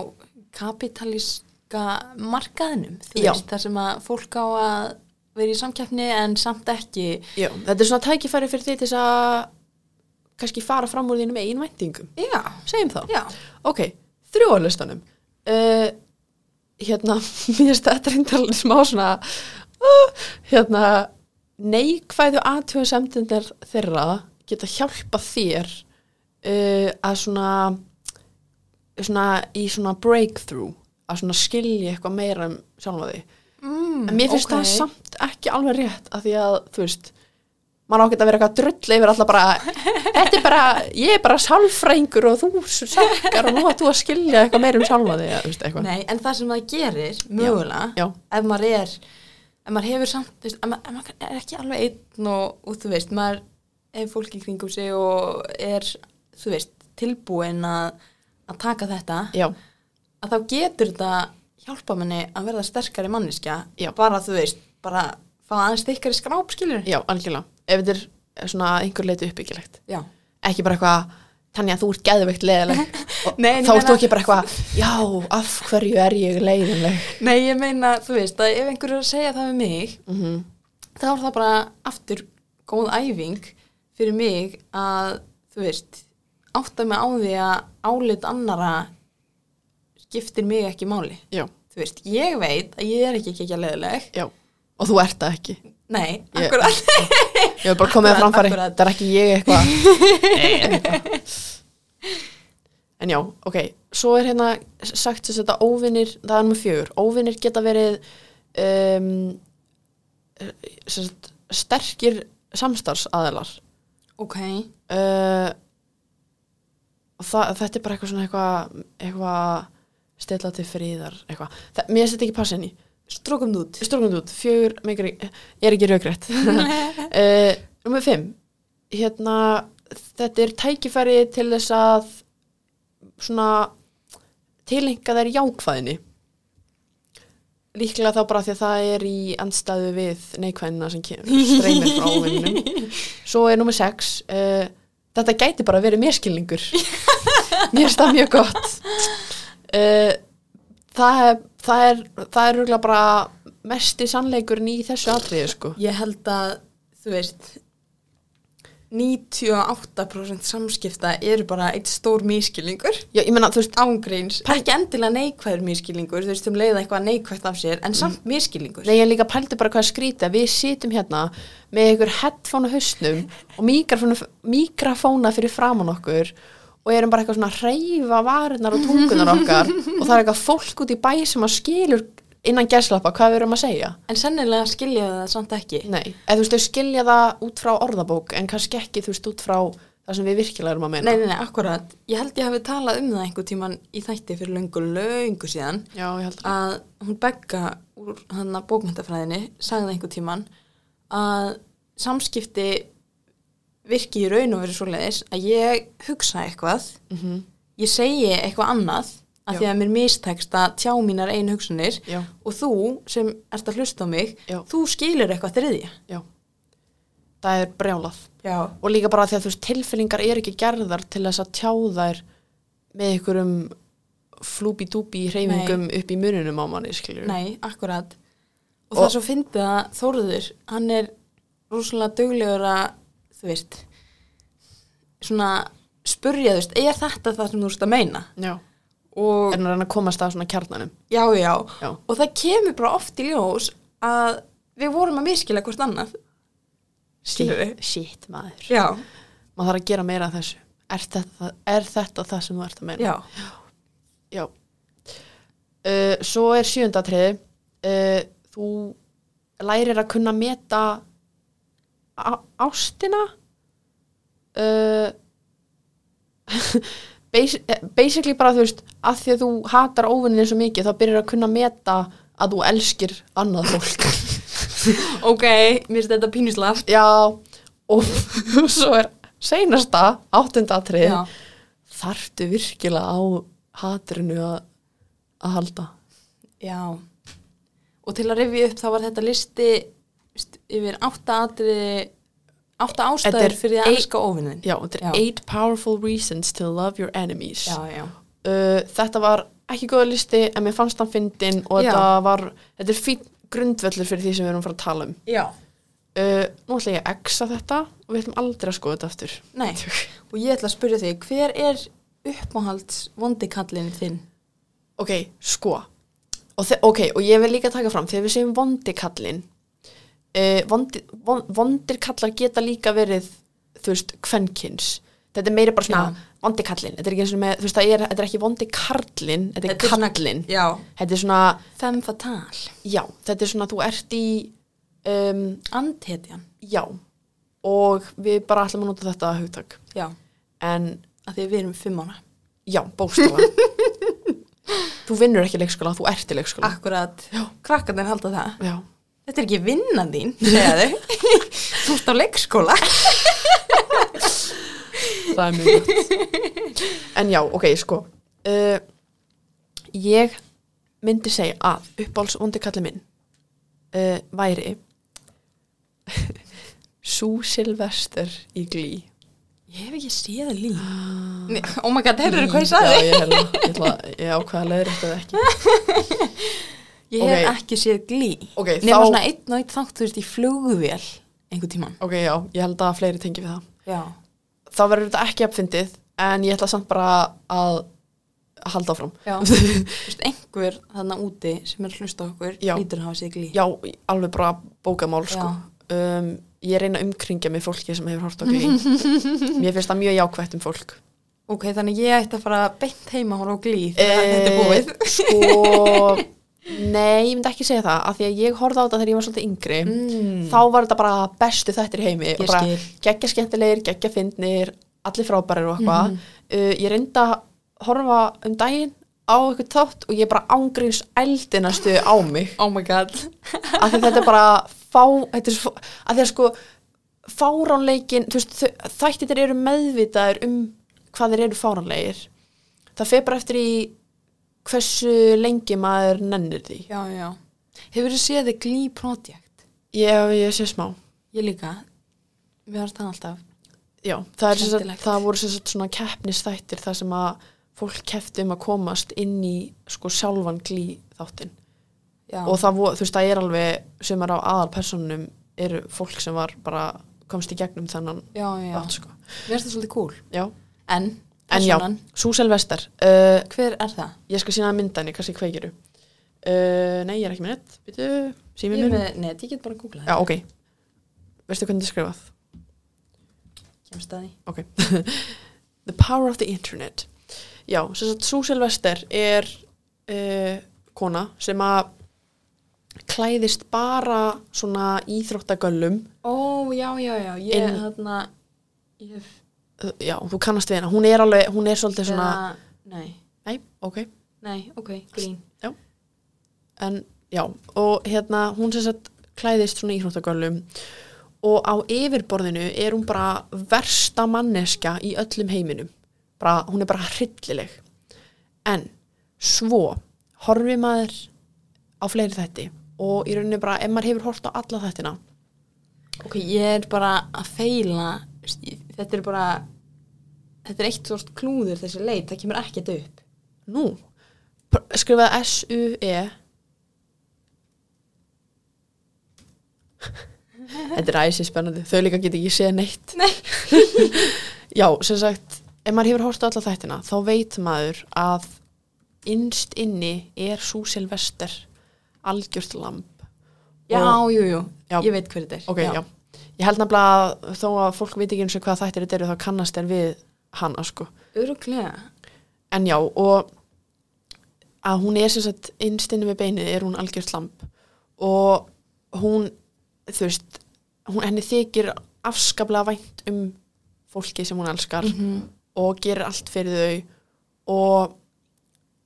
[SPEAKER 2] kapitalíska markaðinum þú
[SPEAKER 1] Já.
[SPEAKER 2] veist, þar sem að fólk á að vera í samkeppni en samt ekki
[SPEAKER 1] já, þetta er svona tækifæri fyrir því til þess að kannski fara fram úr þínum eigin væntingum
[SPEAKER 2] já,
[SPEAKER 1] segjum það
[SPEAKER 2] já,
[SPEAKER 1] Ok, þrjú á listanum uh, Hérna, mér finnst þetta reyndar smá svona uh, Hérna, neikvæðu aðtjóðsemdindar þeirra geta hjálpa þér uh, að svona, svona í svona breakthrough að svona skilja eitthvað meira um sjálfa því
[SPEAKER 2] Mm,
[SPEAKER 1] en mér finnst
[SPEAKER 2] ok.
[SPEAKER 1] það samt ekki alveg rétt af því að, þú veist maður ákveðt að vera eitthvað drull yfir alltaf bara þetta er bara, ég er bara sálfrængur og þú sakkar og nú að þú að skilja eitthvað meira um sjálfa því, þú veist, eitthvað
[SPEAKER 2] Nei, en það sem það gerir, mögulega,
[SPEAKER 1] Já,
[SPEAKER 2] ef maður er, ef maður hefur samt, þú veist, ef maður, ef maður er ekki alveg einn og, og þú veist, maður hefur fólk í kringum sig og er, þú veist, tilbúin að, að taka þetta,
[SPEAKER 1] já,
[SPEAKER 2] að þá getur þetta hjálpa manni að verða sterkari manniska,
[SPEAKER 1] Já.
[SPEAKER 2] bara, þú veist, bara fá aðeins stikkari skráp, skilur.
[SPEAKER 1] já, algjörlega ef þetta er svona að einhver leiti uppbyggilegt
[SPEAKER 2] Já.
[SPEAKER 1] ekki bara eitthvað Tanja, þú ert geðveikt leiðileg og
[SPEAKER 2] Nei, en ég
[SPEAKER 1] þá ert þú
[SPEAKER 2] meina-
[SPEAKER 1] ekki bara eitthvað já, af hverju er ég leiðileg
[SPEAKER 2] Nei, ég meina, þú veist, að ef einhver er að segja það við mig,
[SPEAKER 1] mm -hmm.
[SPEAKER 2] þá er það bara aftur góð æfing fyrir mig að, þú veist, átta mig á því að álit annara skiptir mig ekki máli.
[SPEAKER 1] já,
[SPEAKER 2] Þú veist, ég veit að ég er ekki ekki leðileg.
[SPEAKER 1] já, og þú ert það ekki
[SPEAKER 2] Nei,
[SPEAKER 1] Ég-
[SPEAKER 2] akkurat.
[SPEAKER 1] ég hef bara komið að
[SPEAKER 2] Akkurat,
[SPEAKER 1] framfæri,
[SPEAKER 2] akkurat.
[SPEAKER 1] það er ekki ég eitthvað Nei, eitthvað. en já, ok svo er hérna sagt þess að þetta óvinnir það er nummer fjögur, óvinnir geta verið um, sagt, sterkir samstarfsaðilar
[SPEAKER 2] Ok,
[SPEAKER 1] uh, og það, þetta er bara eitthvað svona eitthvað eitthvað stilla til friðar eitthvað, það, mér setja ekki passin í
[SPEAKER 2] strókum þú út.
[SPEAKER 1] stórkund út, fjögur mikri, ég er ekki raugrætt uh, nummer fimm hérna, þetta er tækifæri til þess að svona tilenga þær jákvæðinni líklega þá bara því að það er í andstæðu við neikvæðina sem kemur streymir frá óvinnum Svo er nummer 6 uh, Þetta gæti bara að vera mérskilningur Mér finnst það mjög gott uh, Það er það er, það er rúglega bara mesti sannleikurinn í þessu atriði sko.
[SPEAKER 2] Ég held að, þú veist, 98% samskipta eru bara eitt stór miskilningur.
[SPEAKER 1] Já, ég meina, þú veist,
[SPEAKER 2] ángríns, ekki endilega neikvæður miskilningur, þú veist, um leiða eitthvað neikvægt af sér, en samt miskilningur.
[SPEAKER 1] Mm. nei, ég líka pældi bara hvað skrýta við situm hérna með ykkur headphone á hausnum og mikrofóna, mikrofóna fyrir framann okkur og erum bara eitthvað svona að reyfa varirnar og tungunar okkar og það er eitthvað fólk út í bæ sem að skilur innan gæslappa hvað við erum að segja
[SPEAKER 2] En sennilega skilja það samt ekki.
[SPEAKER 1] Nei, eða þú veist, þau skilja það út frá orðabók en kannski ekki, þú veist, út frá það sem við virkilega erum að meina.
[SPEAKER 2] Nei, nei, nei, akkurat. Ég held ég hafi talað um það einhver tíman í þætti fyrir löngu, löngu síðan
[SPEAKER 1] Já, ég held að.
[SPEAKER 2] að hún begga úr hann að bókmyndafræðinni sagði það einhver tíman að samskipti virki í raun og verið svoleiðis að ég hugsa eitthvað,
[SPEAKER 1] Mhm.
[SPEAKER 2] ég segi eitthvað annað
[SPEAKER 1] Já.
[SPEAKER 2] að því að mér mistekst að tjá mínar einu hugsanir
[SPEAKER 1] Já,
[SPEAKER 2] og þú sem ert að hlusta á mig
[SPEAKER 1] Já.
[SPEAKER 2] þú skilur eitthvað þriðja
[SPEAKER 1] já. Það er brjálað.
[SPEAKER 2] já,
[SPEAKER 1] Og líka bara því að þú veist, tilfinningar eru ekki gerðar til þess að tjá þær með einhverjum flúbi-dúbi hreyfingum upp í mununum á manni, skilur.
[SPEAKER 2] nei, akkurat og,
[SPEAKER 1] Og-
[SPEAKER 2] það er svo fyndið að Þóruður hann er rosalega duglegur að þú veist svona spurja þú veist, er þetta það sem þú veist að meina
[SPEAKER 1] Já.
[SPEAKER 2] og
[SPEAKER 1] En að reyna að komast að svona kjarnanum.
[SPEAKER 2] já, já,
[SPEAKER 1] Já.
[SPEAKER 2] og það kemur bara oft í ljós að við vorum að miskila hvort annað Skilurðu?
[SPEAKER 1] Shit, shit, maður.
[SPEAKER 2] já,
[SPEAKER 1] Maður þarf að gera meira af þessu. Er þetta, er þetta það sem þú ert að meina?
[SPEAKER 2] já,
[SPEAKER 1] Já. Uh, svo er sjöndatriði. Uh, þú lærir að kunna meta á- ástina. Uh, bas- eh, basically bara þú veist, að því að þú hatar óvinnin svo mikið, þá byrjar að kunna meta að þú elskir annað fólk.
[SPEAKER 2] ok, mér finnst þetta pínuslaft
[SPEAKER 1] Já, og svo er seinasta, áttundatriði.
[SPEAKER 2] já,
[SPEAKER 1] Þarftu virkilega á hatrinu að, að halda?
[SPEAKER 2] Já. Og til að rifja upp þá var þetta listi st- yfir átta atriði átta
[SPEAKER 1] Þetta er
[SPEAKER 2] ástæður fyrir að
[SPEAKER 1] ein-
[SPEAKER 2] elska óvinnin.
[SPEAKER 1] Já, þetta er
[SPEAKER 2] Já.
[SPEAKER 1] Eight Powerful Reasons to Love Your Enemies.
[SPEAKER 2] já, já.
[SPEAKER 1] Uh, þetta var ekki góða listi, en mér fannst hann fyndin og
[SPEAKER 2] Já.
[SPEAKER 1] þetta var, þetta er fín grundvöllur fyrir því sem við erum að fara að tala um.
[SPEAKER 2] Já.
[SPEAKER 1] Uh, nú ætla ég að exa þetta og við ætlum aldrei að skoða þetta aftur.
[SPEAKER 2] Nei, og ég ætla að spyrja þig, hver er uppáhalds vondikallin þinn?
[SPEAKER 1] Ok, sko. Og þe- ok, og ég vil líka taka fram, þegar við segjum vondikallin, uh, vondi, von, vondir kallar geta líka verið, þú veist, kvenkyns. þetta er meira bara
[SPEAKER 2] Já.
[SPEAKER 1] svona vondi kallinn þetta er ekki eins og með, þú veist það er, þetta er ekki vondi karlinn þetta er
[SPEAKER 2] Þetta er svona-
[SPEAKER 1] kallinn
[SPEAKER 2] Já.
[SPEAKER 1] þetta er svona,
[SPEAKER 2] Femme fatale.
[SPEAKER 1] já, þetta er svona þú ert í um,
[SPEAKER 2] Antetjan.
[SPEAKER 1] já og við bara ætlum að nota þetta hugtak
[SPEAKER 2] Já.
[SPEAKER 1] en
[SPEAKER 2] Að því að við erum fimm ára.
[SPEAKER 1] já, bókstala þú vinnur ekki í leikskóla, þú ert í leikskóla
[SPEAKER 2] Akkurat. Krakkarnir halda það.
[SPEAKER 1] já,
[SPEAKER 2] Þetta er ekki vinnan þín, segja þau. Þú ert á leikskóla.
[SPEAKER 1] það er mjög gott en já, ok, sko uh, ég myndi segja að uppáhaldsvondi kallið minn uh, væri Sú Silvester í Glí
[SPEAKER 2] Ég hef ekki séð það líf. Nei, Oh my god, heyrður hvað ég
[SPEAKER 1] Já,
[SPEAKER 2] sagði?
[SPEAKER 1] ég, held að- ég, ætla að- ég ákvaða leður þetta ekki
[SPEAKER 2] Ég hef
[SPEAKER 1] Ok.
[SPEAKER 2] ekki séð glý.
[SPEAKER 1] Ok,
[SPEAKER 2] Nefnum
[SPEAKER 1] þá-
[SPEAKER 2] svona einn og einn þátt, þú veist, í flugvél einhvern tíman.
[SPEAKER 1] ok, já, ég held að fleiri tengi við það
[SPEAKER 2] Já.
[SPEAKER 1] þá verður þetta ekki uppfyndið en ég ætla samt bara að halda áfram
[SPEAKER 2] Já. þú veist, einhver þarna úti sem er að hlusta á okkur,
[SPEAKER 1] Já.
[SPEAKER 2] lítur að hafa séð glý.
[SPEAKER 1] já, alveg bara bókamál sko. um, ég reyna að umkringja mig fólki sem hefur hort á glí mér finnst það mjög jákvætt um fólk
[SPEAKER 2] Ok, þannig ég ætti að fara beint heima og horfa á glý þegar þetta er búið.
[SPEAKER 1] Eh, sko nei, ég myndi ekki segja það af því að ég horfði á þetta þegar ég var svolítið yngri
[SPEAKER 2] Mm.
[SPEAKER 1] þá var þetta bara bestu þættir í heimi og bara
[SPEAKER 2] skil.
[SPEAKER 1] geggja skemmtilegir, geggja fyndnir allir frábærir og eitthvað
[SPEAKER 2] Mhm.
[SPEAKER 1] uh, ég reyndi að horfa um daginn á eitthvað þátt og ég bara ángriðs eldinastu á mig
[SPEAKER 2] Oh my god.
[SPEAKER 1] af því þetta er bara fá, þetta er svo, af því að sko fáránleikin, þú veist þau- þættirnir eru meðvitaðir um hvað þeir eru fáránleir það fer bara eftir í hversu lengi maður nennir því
[SPEAKER 2] Já, já. Hefur þú séð The Glee Project?
[SPEAKER 1] ég, ég sé smá
[SPEAKER 2] Ég líka. Við varum það alltaf.
[SPEAKER 1] Já, það, er sem sagt,
[SPEAKER 2] Skemmtilegt.
[SPEAKER 1] það voru sem sagt svona keppnisþættir þar sem að fólk keppti um að komast inn í sko sjálfan glí þáttinn
[SPEAKER 2] Já.
[SPEAKER 1] og það, vo- þú veist, það er alveg sem er á aðalpersonum eru fólk sem var bara komst í gegnum þennan
[SPEAKER 2] já, já.
[SPEAKER 1] þátt sko.
[SPEAKER 2] Mér finnst það svolítið cool.
[SPEAKER 1] Já,
[SPEAKER 2] En,
[SPEAKER 1] en já,
[SPEAKER 2] persónan,
[SPEAKER 1] Súsel Vestar uh,
[SPEAKER 2] hver er það?
[SPEAKER 1] ég skal sína mynda henni, kannski kveikiru uh, Nei, ég er ekki með nett, býtu sími
[SPEAKER 2] Ég er
[SPEAKER 1] mér
[SPEAKER 2] með net, ég get bara að googla
[SPEAKER 1] Já, ok, veistu hvernig þið skrifað?
[SPEAKER 2] það. Kemst að því.
[SPEAKER 1] ok The Power of the Internet já, sem sagt, Sú Silvester er uh, kona sem að klæðist bara svona íþróttagöllum
[SPEAKER 2] Ó, já, já, já. Ég
[SPEAKER 1] Inn-
[SPEAKER 2] er þarna, ég hef...
[SPEAKER 1] Uh, já, þú kannast við hana, hún er alveg hún er svolítið svona,
[SPEAKER 2] eða- Nei,
[SPEAKER 1] nei, ok
[SPEAKER 2] nei, ok, grín.
[SPEAKER 1] en já, og hérna hún sem sagt klæðist svona íþróttagöllum og á yfirborðinu er hún bara versta manneska í öllum heiminum bara, hún er bara hryllileg en svo horfi maður á fleiri þætti og í rauninni bara ef maður hefur hort á alla þættina
[SPEAKER 2] Ok, ég er bara að feila. Þetta er bara... Þetta er eitt svort klúður þessi leit, það kemur ekkert upp.
[SPEAKER 1] nú, pr- skrifaði S-U-E Þetta er æsi spennandi, þau líka geti ekki séð neitt
[SPEAKER 2] Nei.
[SPEAKER 1] Já, sem sagt, ef maður hefur hórt á alla þættina, þá veit maður að innst inni er svo silvester algjört lamp.
[SPEAKER 2] Já,
[SPEAKER 1] Og-
[SPEAKER 2] jú, jú,
[SPEAKER 1] Já.
[SPEAKER 2] ég veit hver þetta er.
[SPEAKER 1] Ok, já. Ég held nefnilega að þó að fólk veit ekki eins og hvað þættir þetta eru, þá kannast þeir við hana, sko.
[SPEAKER 2] Öruglega.
[SPEAKER 1] En já, og að hún er sem sagt innst inni með beinið er hún algjört lamp og hún, þú veist, hún, henni þykir afskaplega vænt um fólki sem hún elskar
[SPEAKER 2] Mhm,
[SPEAKER 1] og gerir allt fyrir þau og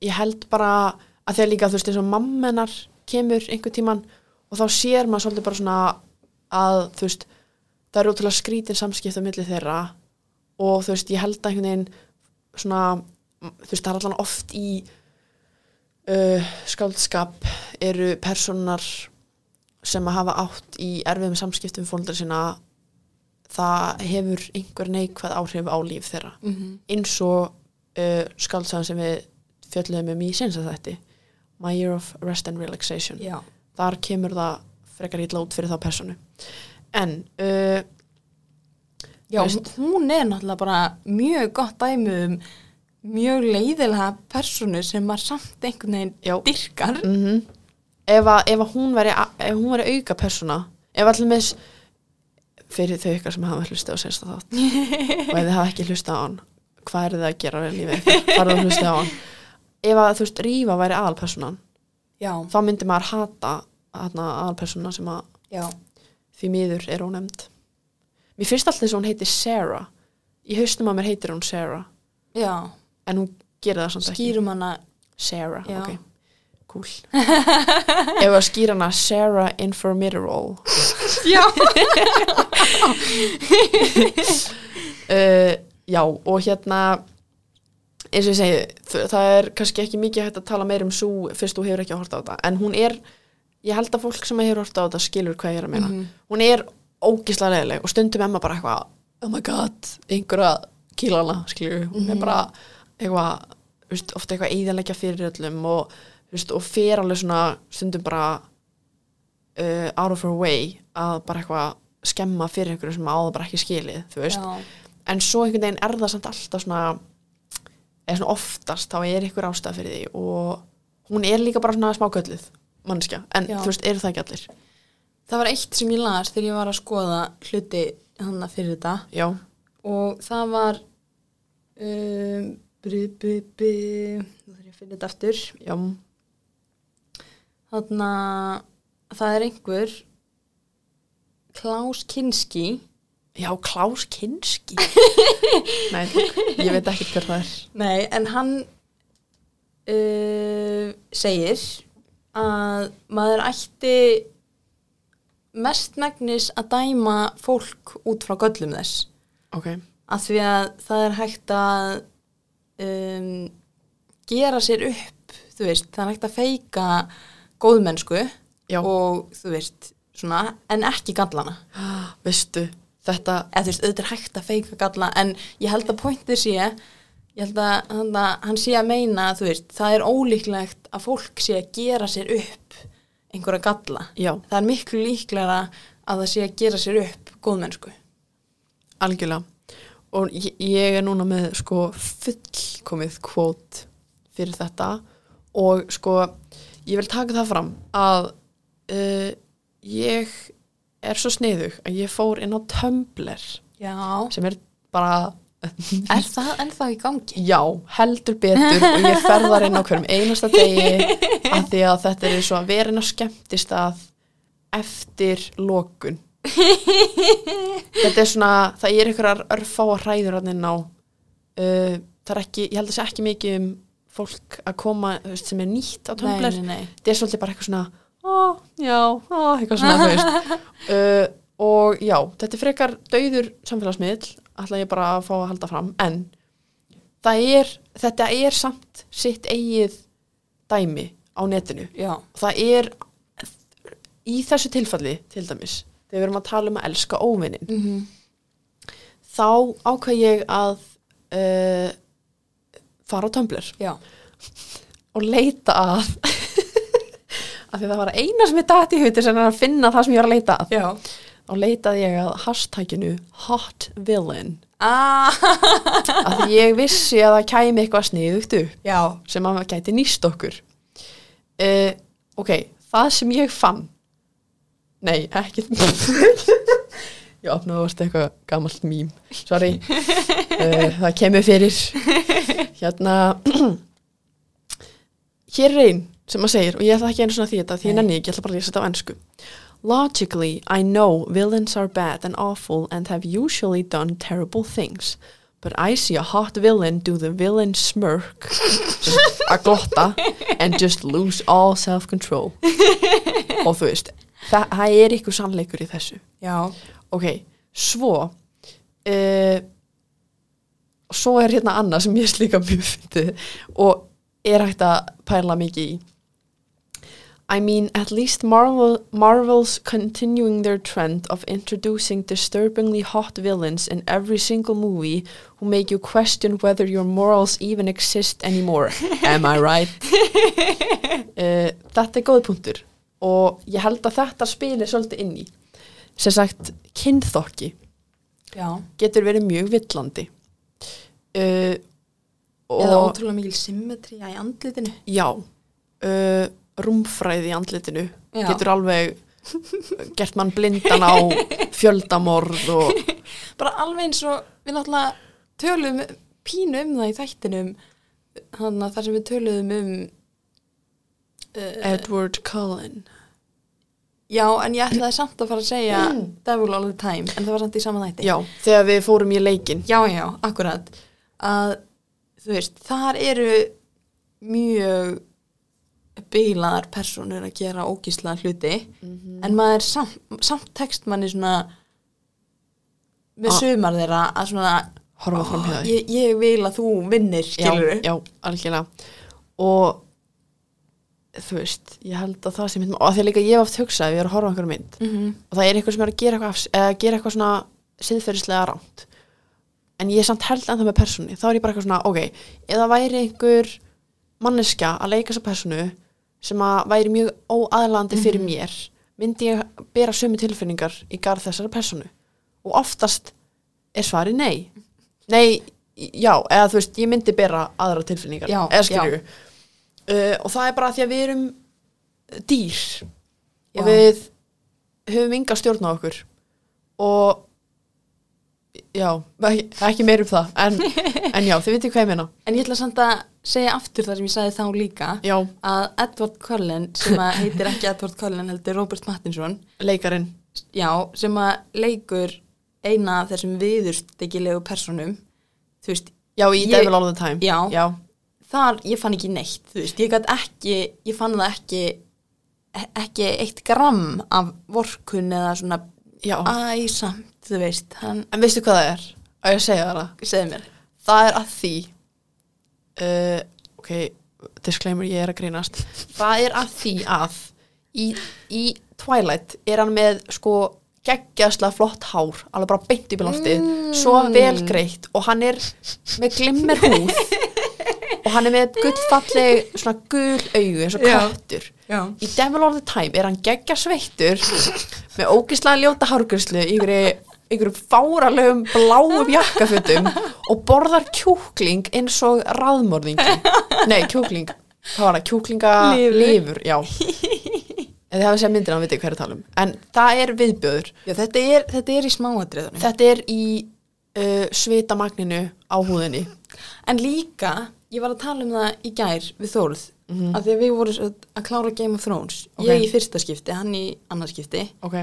[SPEAKER 1] ég held bara að þegar líka þú veist eins og mammenar kemur einhver tíman og þá sér maður svolítið bara svona að þú veist það eru ótrúlega skrítin samskipt á milli þeirra og þú veist ég held að einhvern veginn svona m- þú veist það er allan oft í uh, skáldskap eru personar sem að hafa átt í erfiðum samskiptum fólundar sinna það hefur einhver neikvæð áhrif á líf þeirra
[SPEAKER 2] Mm -hmm.
[SPEAKER 1] eins og uh, skáldsæðan sem við fjöldum um í sensa þætti My Year of Rest and Relaxation
[SPEAKER 2] Já.
[SPEAKER 1] þar kemur það frekar ítla út fyrir þá personu en uh,
[SPEAKER 2] Já,
[SPEAKER 1] Veist.
[SPEAKER 2] hún er náttúrulega bara mjög gott dæmi um mjög leiðilega personu sem maður samt einhvern veginn
[SPEAKER 1] Já.
[SPEAKER 2] dyrkar.
[SPEAKER 1] mm ef, að, ef að hún veri ef hún veri auka persona ef allir með fyrir þau ykkar sem hafa hlusta á sérsta þátt og ef þið hafa ekki hlusta á hann hvað er þið að gera við lífið ykkar? farðu að hlusta á hann ef að þú veist Rífa væri aðalpersonan
[SPEAKER 2] já,
[SPEAKER 1] þá myndi maður hata hana, aðalpersona sem að
[SPEAKER 2] já,
[SPEAKER 1] því miður er ónefnd mér finnst alltaf eins og hún heiti Sarah í haustum að mér heitir hún Sarah
[SPEAKER 2] já
[SPEAKER 1] en hún gerir það samt ekki
[SPEAKER 2] skýrum hana
[SPEAKER 1] Sarah,
[SPEAKER 2] Já.
[SPEAKER 1] ok, cool ef að skýra hana Sarah Informiderol
[SPEAKER 2] já,
[SPEAKER 1] uh, já, og hérna eins og ég segi, þ- það er kannski ekki mikið hægt að tala meir um svo fyrst þú hefur ekki að horta á þetta, en hún er ég held að fólk sem hefur horta á þetta skilur hvað ég er að meina,
[SPEAKER 2] Mhm.
[SPEAKER 1] hún er ógislega leðileg og stundum emma bara eitthvað oh my god, einhverja kílana skilur, hún
[SPEAKER 2] Mhm.
[SPEAKER 1] er bara eitthvað, þú veist, ofta eitthvað eðalegja fyrir öllum og, þú veist, og fer alveg svona stundum bara uh, out of her way að bara eitthvað skemma fyrir einhverju sem áður bara ekki skilið, þú veist
[SPEAKER 2] já,
[SPEAKER 1] en svo einhvern veginn er það samt alltaf svona eða svona oftast þá er ykkur ástæð fyrir því og hún er líka bara svona smákölluð mannskja, en
[SPEAKER 2] Já.
[SPEAKER 1] þú veist, eru það ekki allir
[SPEAKER 2] það var eitt sem ég las þegar ég var að skoða hluti hana fyrir þetta
[SPEAKER 1] já,
[SPEAKER 2] og það var um, bry, bry, bry, nú þarf ég að finna þetta aftur
[SPEAKER 1] já,
[SPEAKER 2] þarna það er einhver Klaus Kinski
[SPEAKER 1] já, Klaus Kinski nei, ég veit ekki hver það er
[SPEAKER 2] nei, en hann uh, segir að maður ætti mestmægnis að dæma fólk út frá göllum þess
[SPEAKER 1] ok,
[SPEAKER 2] að því að það er hægt að um, gera sér upp, þú veist, það er hægt að feika góðmennsku
[SPEAKER 1] já,
[SPEAKER 2] og þú veist, svona, en ekki gallana.
[SPEAKER 1] veistu þetta,
[SPEAKER 2] Eða þú veist, auðvitað er hægt að feika galla, en ég held að pointið sé, ég held að, held að hann sé að meina, þú veist, það er ólíklegt að fólk sé að gera sér upp einhverja galla.
[SPEAKER 1] já,
[SPEAKER 2] Það er miklu líklega að það sé að gera sér upp góðmennsku.
[SPEAKER 1] algjörlega og ég, ég er núna með sko fullkomið kvót fyrir þetta og sko ég vil taka það fram að uh, ég er svo sniðug að ég fór inn á Tumblr
[SPEAKER 2] Já.
[SPEAKER 1] sem er bara
[SPEAKER 2] Er það ennþá í gangi?
[SPEAKER 1] já, heldur betur og ég ferðar inn á hverjum einasta degi af því að þetta er svo að vera inn á skemmtist að eftir lokun þetta er svona það er einhverjar örfáa hræður hann inn á uh, það er ekki, ég held að sé ekki mikið um fólk að koma þú veist, sem er nýtt á Tumblr
[SPEAKER 2] Nei, nei, nei.
[SPEAKER 1] þetta er svolítið bara eitthvað svona ó, já, ó, eitthvað svona þú veist. uh, og já, þetta er frekar dauður samfélagsmiðl ætla ég bara að fá að halda fram en það er, þetta er samt sitt eigið dæmi á netinu
[SPEAKER 2] Já.
[SPEAKER 1] það er í þessu tilfalli til dæmis, þegar við erum að tala um að elska óvinnin
[SPEAKER 2] Mm -hmm.
[SPEAKER 1] þá ákveð ég að uh, fara á Tumblr
[SPEAKER 2] Já.
[SPEAKER 1] og leita að af því það var að eina sem ég dætt í hauti sem er að finna það sem ég var að leita að
[SPEAKER 2] Já.
[SPEAKER 1] og leitaði ég að hashtaginu hot villain
[SPEAKER 2] Ah,
[SPEAKER 1] af því ég vissi að það kæmi eitthvað sniðugt upp
[SPEAKER 2] já.
[SPEAKER 1] sem að maður gæti nýst okkur uh, ok, það sem ég fann nei, ekki ég opnaði vart eitthvað gamalt mím, sorry uh, það kemur fyrir hérna hér er ein sem maður segir og ég ætla ekki einu svona því þetta því ég
[SPEAKER 2] Nei.
[SPEAKER 1] nenni ekki, ég ætla bara að lýsa þetta á ennsku Logically, I know villains are bad and awful and have usually done terrible things. But I see a hot villain do the villain smirk að glotta and just lose all self-control. Og þú veist, þa það er ykkur sannleikur í þessu.
[SPEAKER 2] Já.
[SPEAKER 1] Ok, svo, uh, svo er hérna annað sem ég slíka mjög fyndið og er hægt að pæla mikið í. I mean, at least Marvel, Marvel's continuing their trend of introducing disturbingly hot villains in every single movie who make you question whether your morals even exist anymore. Am I right? uh, þetta er góð punktur og ég held að þetta spilir svolítið inn í. Sem sagt, kynþokki
[SPEAKER 2] Já.
[SPEAKER 1] getur verið mjög villandi. Uh,
[SPEAKER 2] Eða ótrúlega mikil symmetría í andlitinu.
[SPEAKER 1] Já, uh, rúmfræði í andlitinu
[SPEAKER 2] Já.
[SPEAKER 1] getur alveg uh, gert mann blindan á fjöldamorð og
[SPEAKER 2] bara alveg eins og við náttúrulega tölum pínu um það í þættinum þannig að þar sem við töluðum um uh,
[SPEAKER 1] Edward Cullen
[SPEAKER 2] já en ég ætlaði samt að fara að segja
[SPEAKER 1] Mm.
[SPEAKER 2] Devil All The Time en það var samt í sama þætti
[SPEAKER 1] já, þegar við fórum í leikin
[SPEAKER 2] já, já, akkurat að þú veist, þar eru mjög beilaðar personur að gera ógísla hluti
[SPEAKER 1] Mhm.
[SPEAKER 2] en maður samt, samt tekst manni svona með
[SPEAKER 1] Ah.
[SPEAKER 2] sumar þeirra að svona
[SPEAKER 1] horfa fram hjá
[SPEAKER 2] Ó,
[SPEAKER 1] því
[SPEAKER 2] ég, ég vil að þú vinnir,
[SPEAKER 1] já,
[SPEAKER 2] skilur
[SPEAKER 1] já, algjörlega og þú veist, ég held að það sem og af því að líka ég hef oft hugsað, ef ég er að horfa á einhverjum mynd
[SPEAKER 2] Mhm.
[SPEAKER 1] og það er eitthvað sem er að gera eitthvað, afs- eða gera eitthvað svona siðferðislega rámt en ég er samt held ennþá með persónu þá er ég bara eitthvað svona, ok, eða væri einhver manneskja að leika þessa persónu sem að væri mjög óaðlandi
[SPEAKER 2] Mhm.
[SPEAKER 1] fyrir mér myndi ég bera sömu tilfinningar í garð þessara persónu og oftast er svari nei nei, já, eða þú veist ég myndi bera aðra tilfinningar
[SPEAKER 2] Já,
[SPEAKER 1] eða skilju uh, og það er bara því að við erum dýr
[SPEAKER 2] Já.
[SPEAKER 1] og við höfum ynga stjórn á okkur og já, ekki, ekki meir um það en, en já, þið vitið hvað ég meina
[SPEAKER 2] En ég ætla samt að segja aftur það sem ég sagði þá líka
[SPEAKER 1] já,
[SPEAKER 2] að Edward Cullen, sem að heitir ekki Edward Cullen, heldur Robert Pattinson
[SPEAKER 1] leikarinn
[SPEAKER 2] já, sem að leikur eina af þessum viðurstekilegu personum þú veist,
[SPEAKER 1] já, í
[SPEAKER 2] Ég-
[SPEAKER 1] Devil All The Time
[SPEAKER 2] já,
[SPEAKER 1] já,
[SPEAKER 2] þar ég fann ekki neitt, þú veist, ég gæti ekki ég fann það ekki ekki eitt gram af vorkun eða svona
[SPEAKER 1] já.
[SPEAKER 2] Ah. æsamt, þú veist, hann
[SPEAKER 1] en veistu hvað það er? að ég að segja þér það
[SPEAKER 2] segði mér
[SPEAKER 1] það er að því uh, ok, disclaimer ég er að grínast það er að því að í, í Twilight er hann með sko geggjastlega flott hár alveg bara beint upp í loftið svo vel greitt og hann er með glimmer húð og hann er með gullfalleg svona gul augu eins og
[SPEAKER 2] Já.
[SPEAKER 1] köttur
[SPEAKER 2] já,
[SPEAKER 1] í Devil All The Time er hann geggja sveittur með ógislega ljóta hárgjörslu ykkur, ykkur fáralegum bláum jakkafutum og borðar kjúkling eins og ráðmörðingi nei, kjúkling, hvað var það? kjúklinga
[SPEAKER 2] Lifur.
[SPEAKER 1] lifur, já en þið hafið séð myndir hann veit ekki hverju talum um. en það er viðbjöður
[SPEAKER 2] já þetta, er, þetta er í smáadriðunum
[SPEAKER 1] þetta er í uh, svitamagninu á húðinni
[SPEAKER 2] En líka, ég var að tala um það í gær við Þórð, mm að því að við vorum svo að klára Game of Thrones,
[SPEAKER 1] Mhm. Ok.
[SPEAKER 2] ég í fyrsta skipti, hann í annars skipti
[SPEAKER 1] ok,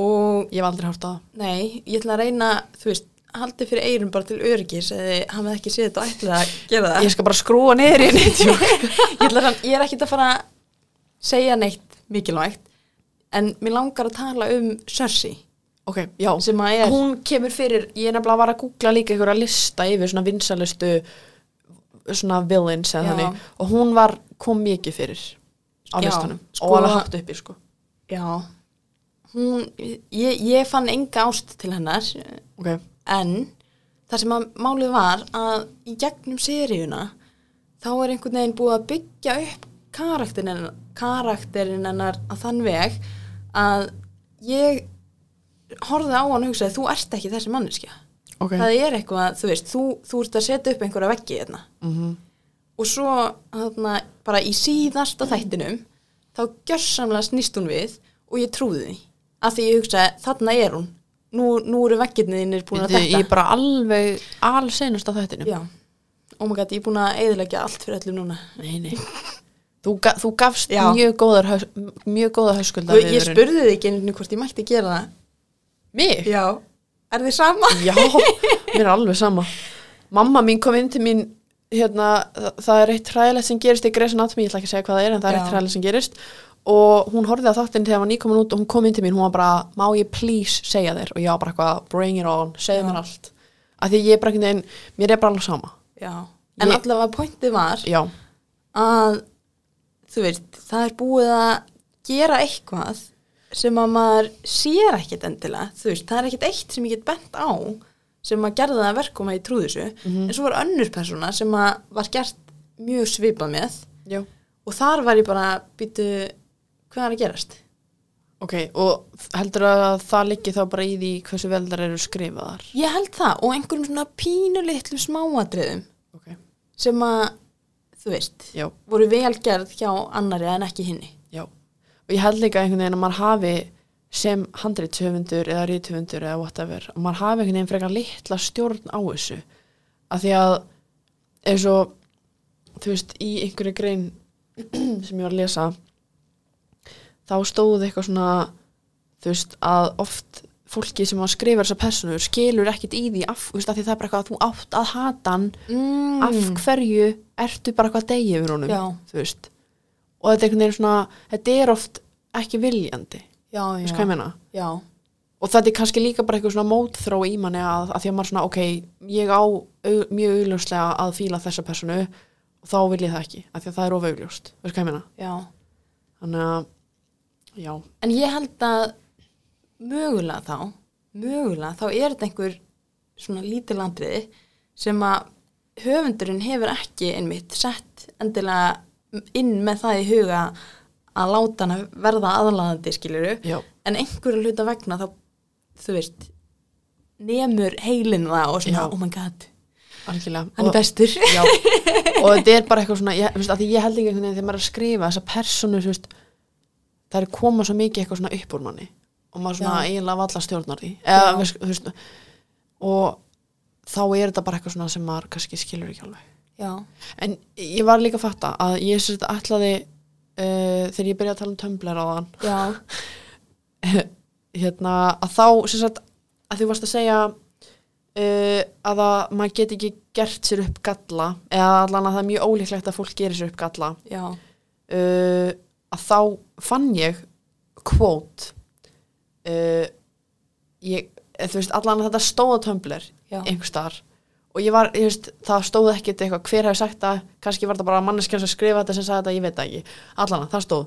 [SPEAKER 2] og
[SPEAKER 1] ég hef aldrei hárt á það
[SPEAKER 2] nei, ég ætla að reyna, þú veist, haldið fyrir eirum bara til öryggis eða hann hefði ekki séð þetta og ætlaði að gera það.
[SPEAKER 1] ég skal bara skrúa niður í henni djók.
[SPEAKER 2] ég, ætla að, ég er ekkit að fara að segja neitt mikilvægt, en mér langar að tala um Cersei
[SPEAKER 1] ok, já
[SPEAKER 2] sem að er,
[SPEAKER 1] hún kemur fyrir, ég nefnilega var að googla líka einhverja lista yfir svona vinsalustu svona villains
[SPEAKER 2] Já.
[SPEAKER 1] eða þannig og hún var, kom mikið fyrir á
[SPEAKER 2] Já,
[SPEAKER 1] listanum
[SPEAKER 2] sko-
[SPEAKER 1] og alveg hátt uppi sko
[SPEAKER 2] já, hún, ég, ég fann enga ást til hennar,
[SPEAKER 1] ok,
[SPEAKER 2] en það sem að málið var að í gegnum seríuna þá er einhvern veginn búið að byggja upp karakterin, karakterin hennar á þann veg að ég horfði á hann og hugsaði þú ert ekki þessi manneskja
[SPEAKER 1] ok,
[SPEAKER 2] það er eitthvað, þú veist, þú, þú ert að setja upp einhverja veggi hérna
[SPEAKER 1] mm
[SPEAKER 2] og svo þarna, bara í síðasta þættinum þá gjörsamlega snýst hún við og ég trúði því af því ég hugsaði þarna er hún nú, nú eru veggirnir þínir búin að
[SPEAKER 1] ég
[SPEAKER 2] þetta
[SPEAKER 1] er bara alveg alseinust á þættinu
[SPEAKER 2] Já, ómagað, ég er búin að eðilegja allt fyrir öllum núna.
[SPEAKER 1] nei, nei þú, ga, þú gafst
[SPEAKER 2] Já.
[SPEAKER 1] mjög góðar haus- mjög góða höskulda
[SPEAKER 2] Ég, ég spurði þig ekki einu sinni hvort ég mætti gera það.
[SPEAKER 1] mig?
[SPEAKER 2] Já. Er þið sama?
[SPEAKER 1] Já, mér er alveg sama Mamma mín kom inn til mín hérna, það, það er eitt hræðilegt sem gerist í Grey's Anatomy, ég ætla ekki að segja hvað það er en það er
[SPEAKER 2] Já.
[SPEAKER 1] eitt hræðilegt sem gerist og hún horfði á þáttinn þegar hann var nýkomin út og hún kom inn til mín, hún var bara, má ég please segja þér og ég var bara eitthvað, bring it on segja
[SPEAKER 2] Já.
[SPEAKER 1] mér allt, af því ég er bara einhvern veginn mér er bara alveg sama,
[SPEAKER 2] Já. En
[SPEAKER 1] Ég-
[SPEAKER 2] allavega pointið var
[SPEAKER 1] já,
[SPEAKER 2] að, þú veist, það er búið að gera eitthvað sem að maður sér ekkit endilega, þú veist, það er ekkit eitt sem ég get bent á sem að gerða það að verkum að ég trúði þessu,
[SPEAKER 1] Mhm.
[SPEAKER 2] en svo var önnur persóna sem að var gert mjög svipað með
[SPEAKER 1] já
[SPEAKER 2] og þar var ég bara, býtu, hvað er að gerast?
[SPEAKER 1] ok, og heldur að það liggi þá bara í því hversu vel þar eru skrifaðar
[SPEAKER 2] Ég held það og einhverjum svona pínu litlu smáatriðum
[SPEAKER 1] ok,
[SPEAKER 2] sem að, þú veist,
[SPEAKER 1] já
[SPEAKER 2] voru velgerð hjá annari en ekki hinni.
[SPEAKER 1] Já, og ég held líka einhvern veginn að maður hafi sem handriðtöfundur eða rítöfundur eða whatever, að maður hafi einhvern veginn frekar litla stjórn á þessu af því að eins og þú veist, í einhverju grein sem ég var að lesa þá stóð eitthvað svona þú veist, að oft fólki sem að skrifa þessar personur skilur ekkit í því af, þú veist, af því það er bara eitthvað að þú átt að hata hann
[SPEAKER 2] mm.
[SPEAKER 1] af hverju ertu bara eitthvað að deyja yfir honum
[SPEAKER 2] Já.
[SPEAKER 1] þú veist og þetta er einhvern veginn svona, þetta er oft ekki viljandi,
[SPEAKER 2] já,
[SPEAKER 1] þú veist hvað ég
[SPEAKER 2] já,
[SPEAKER 1] meina
[SPEAKER 2] já,
[SPEAKER 1] og þetta er kannski líka bara eitthvað svona mótþró í manni að, að því að maður svona, ok ég á au, mjög augljóslega að fíla þessa personu og þá vil ég það ekki af því að það er of augljóst, þú veist hvað ég meina
[SPEAKER 2] já
[SPEAKER 1] þannig að, já,
[SPEAKER 2] en ég held að mögulega þá mögulega þá er þetta einhver svona lítið landriði sem að höfundurinn hefur ekki einmitt sett endilega inn með það í huga að láta hana verða aðlaðandi skiluru
[SPEAKER 1] já,
[SPEAKER 2] en einhverju hluta vegna þá, þú veist nemur heilin það og svona,
[SPEAKER 1] Já.
[SPEAKER 2] oh my god
[SPEAKER 1] algjörlega Og-
[SPEAKER 2] hann er bestur
[SPEAKER 1] Já, og þetta er bara eitthvað svona ég, veist, að því ég held ekki einhvern veginn þegar maður er að skrifa þessar persónur, þú veist, það er koma svo mikið eitthvað svona upp úr manni og maður svona
[SPEAKER 2] Já.
[SPEAKER 1] eiginlega valla stjórnar því eða,
[SPEAKER 2] Já.
[SPEAKER 1] veist, þú veist, og þá er þetta bara eitthvað svona sem maður kannski skilur ekki alveg
[SPEAKER 2] já,
[SPEAKER 1] en ég var líka að fatta að ég sem þetta ætlaði uh, þegar ég byrjaði að tala um Tumblr á þann
[SPEAKER 2] já,
[SPEAKER 1] hérna, að þá sem sagt, að þú varst að segja uh, að að maður get ekki gert sér upp galla eða allan að það er mjög ólíklegt að fólk gerir sér upp galla
[SPEAKER 2] já
[SPEAKER 1] uh, að þá fann ég kvót uh, ég, eh, þú veist, allan að þetta stóða tömbler
[SPEAKER 2] já,
[SPEAKER 1] einhvers staðar og ég var, ég veist, það stóð ekkit eitthvað hver hefur sagt það, kannski var það bara manneskjan sem skrifa þetta sem sagði þetta, ég veit það ekki allan, það stóð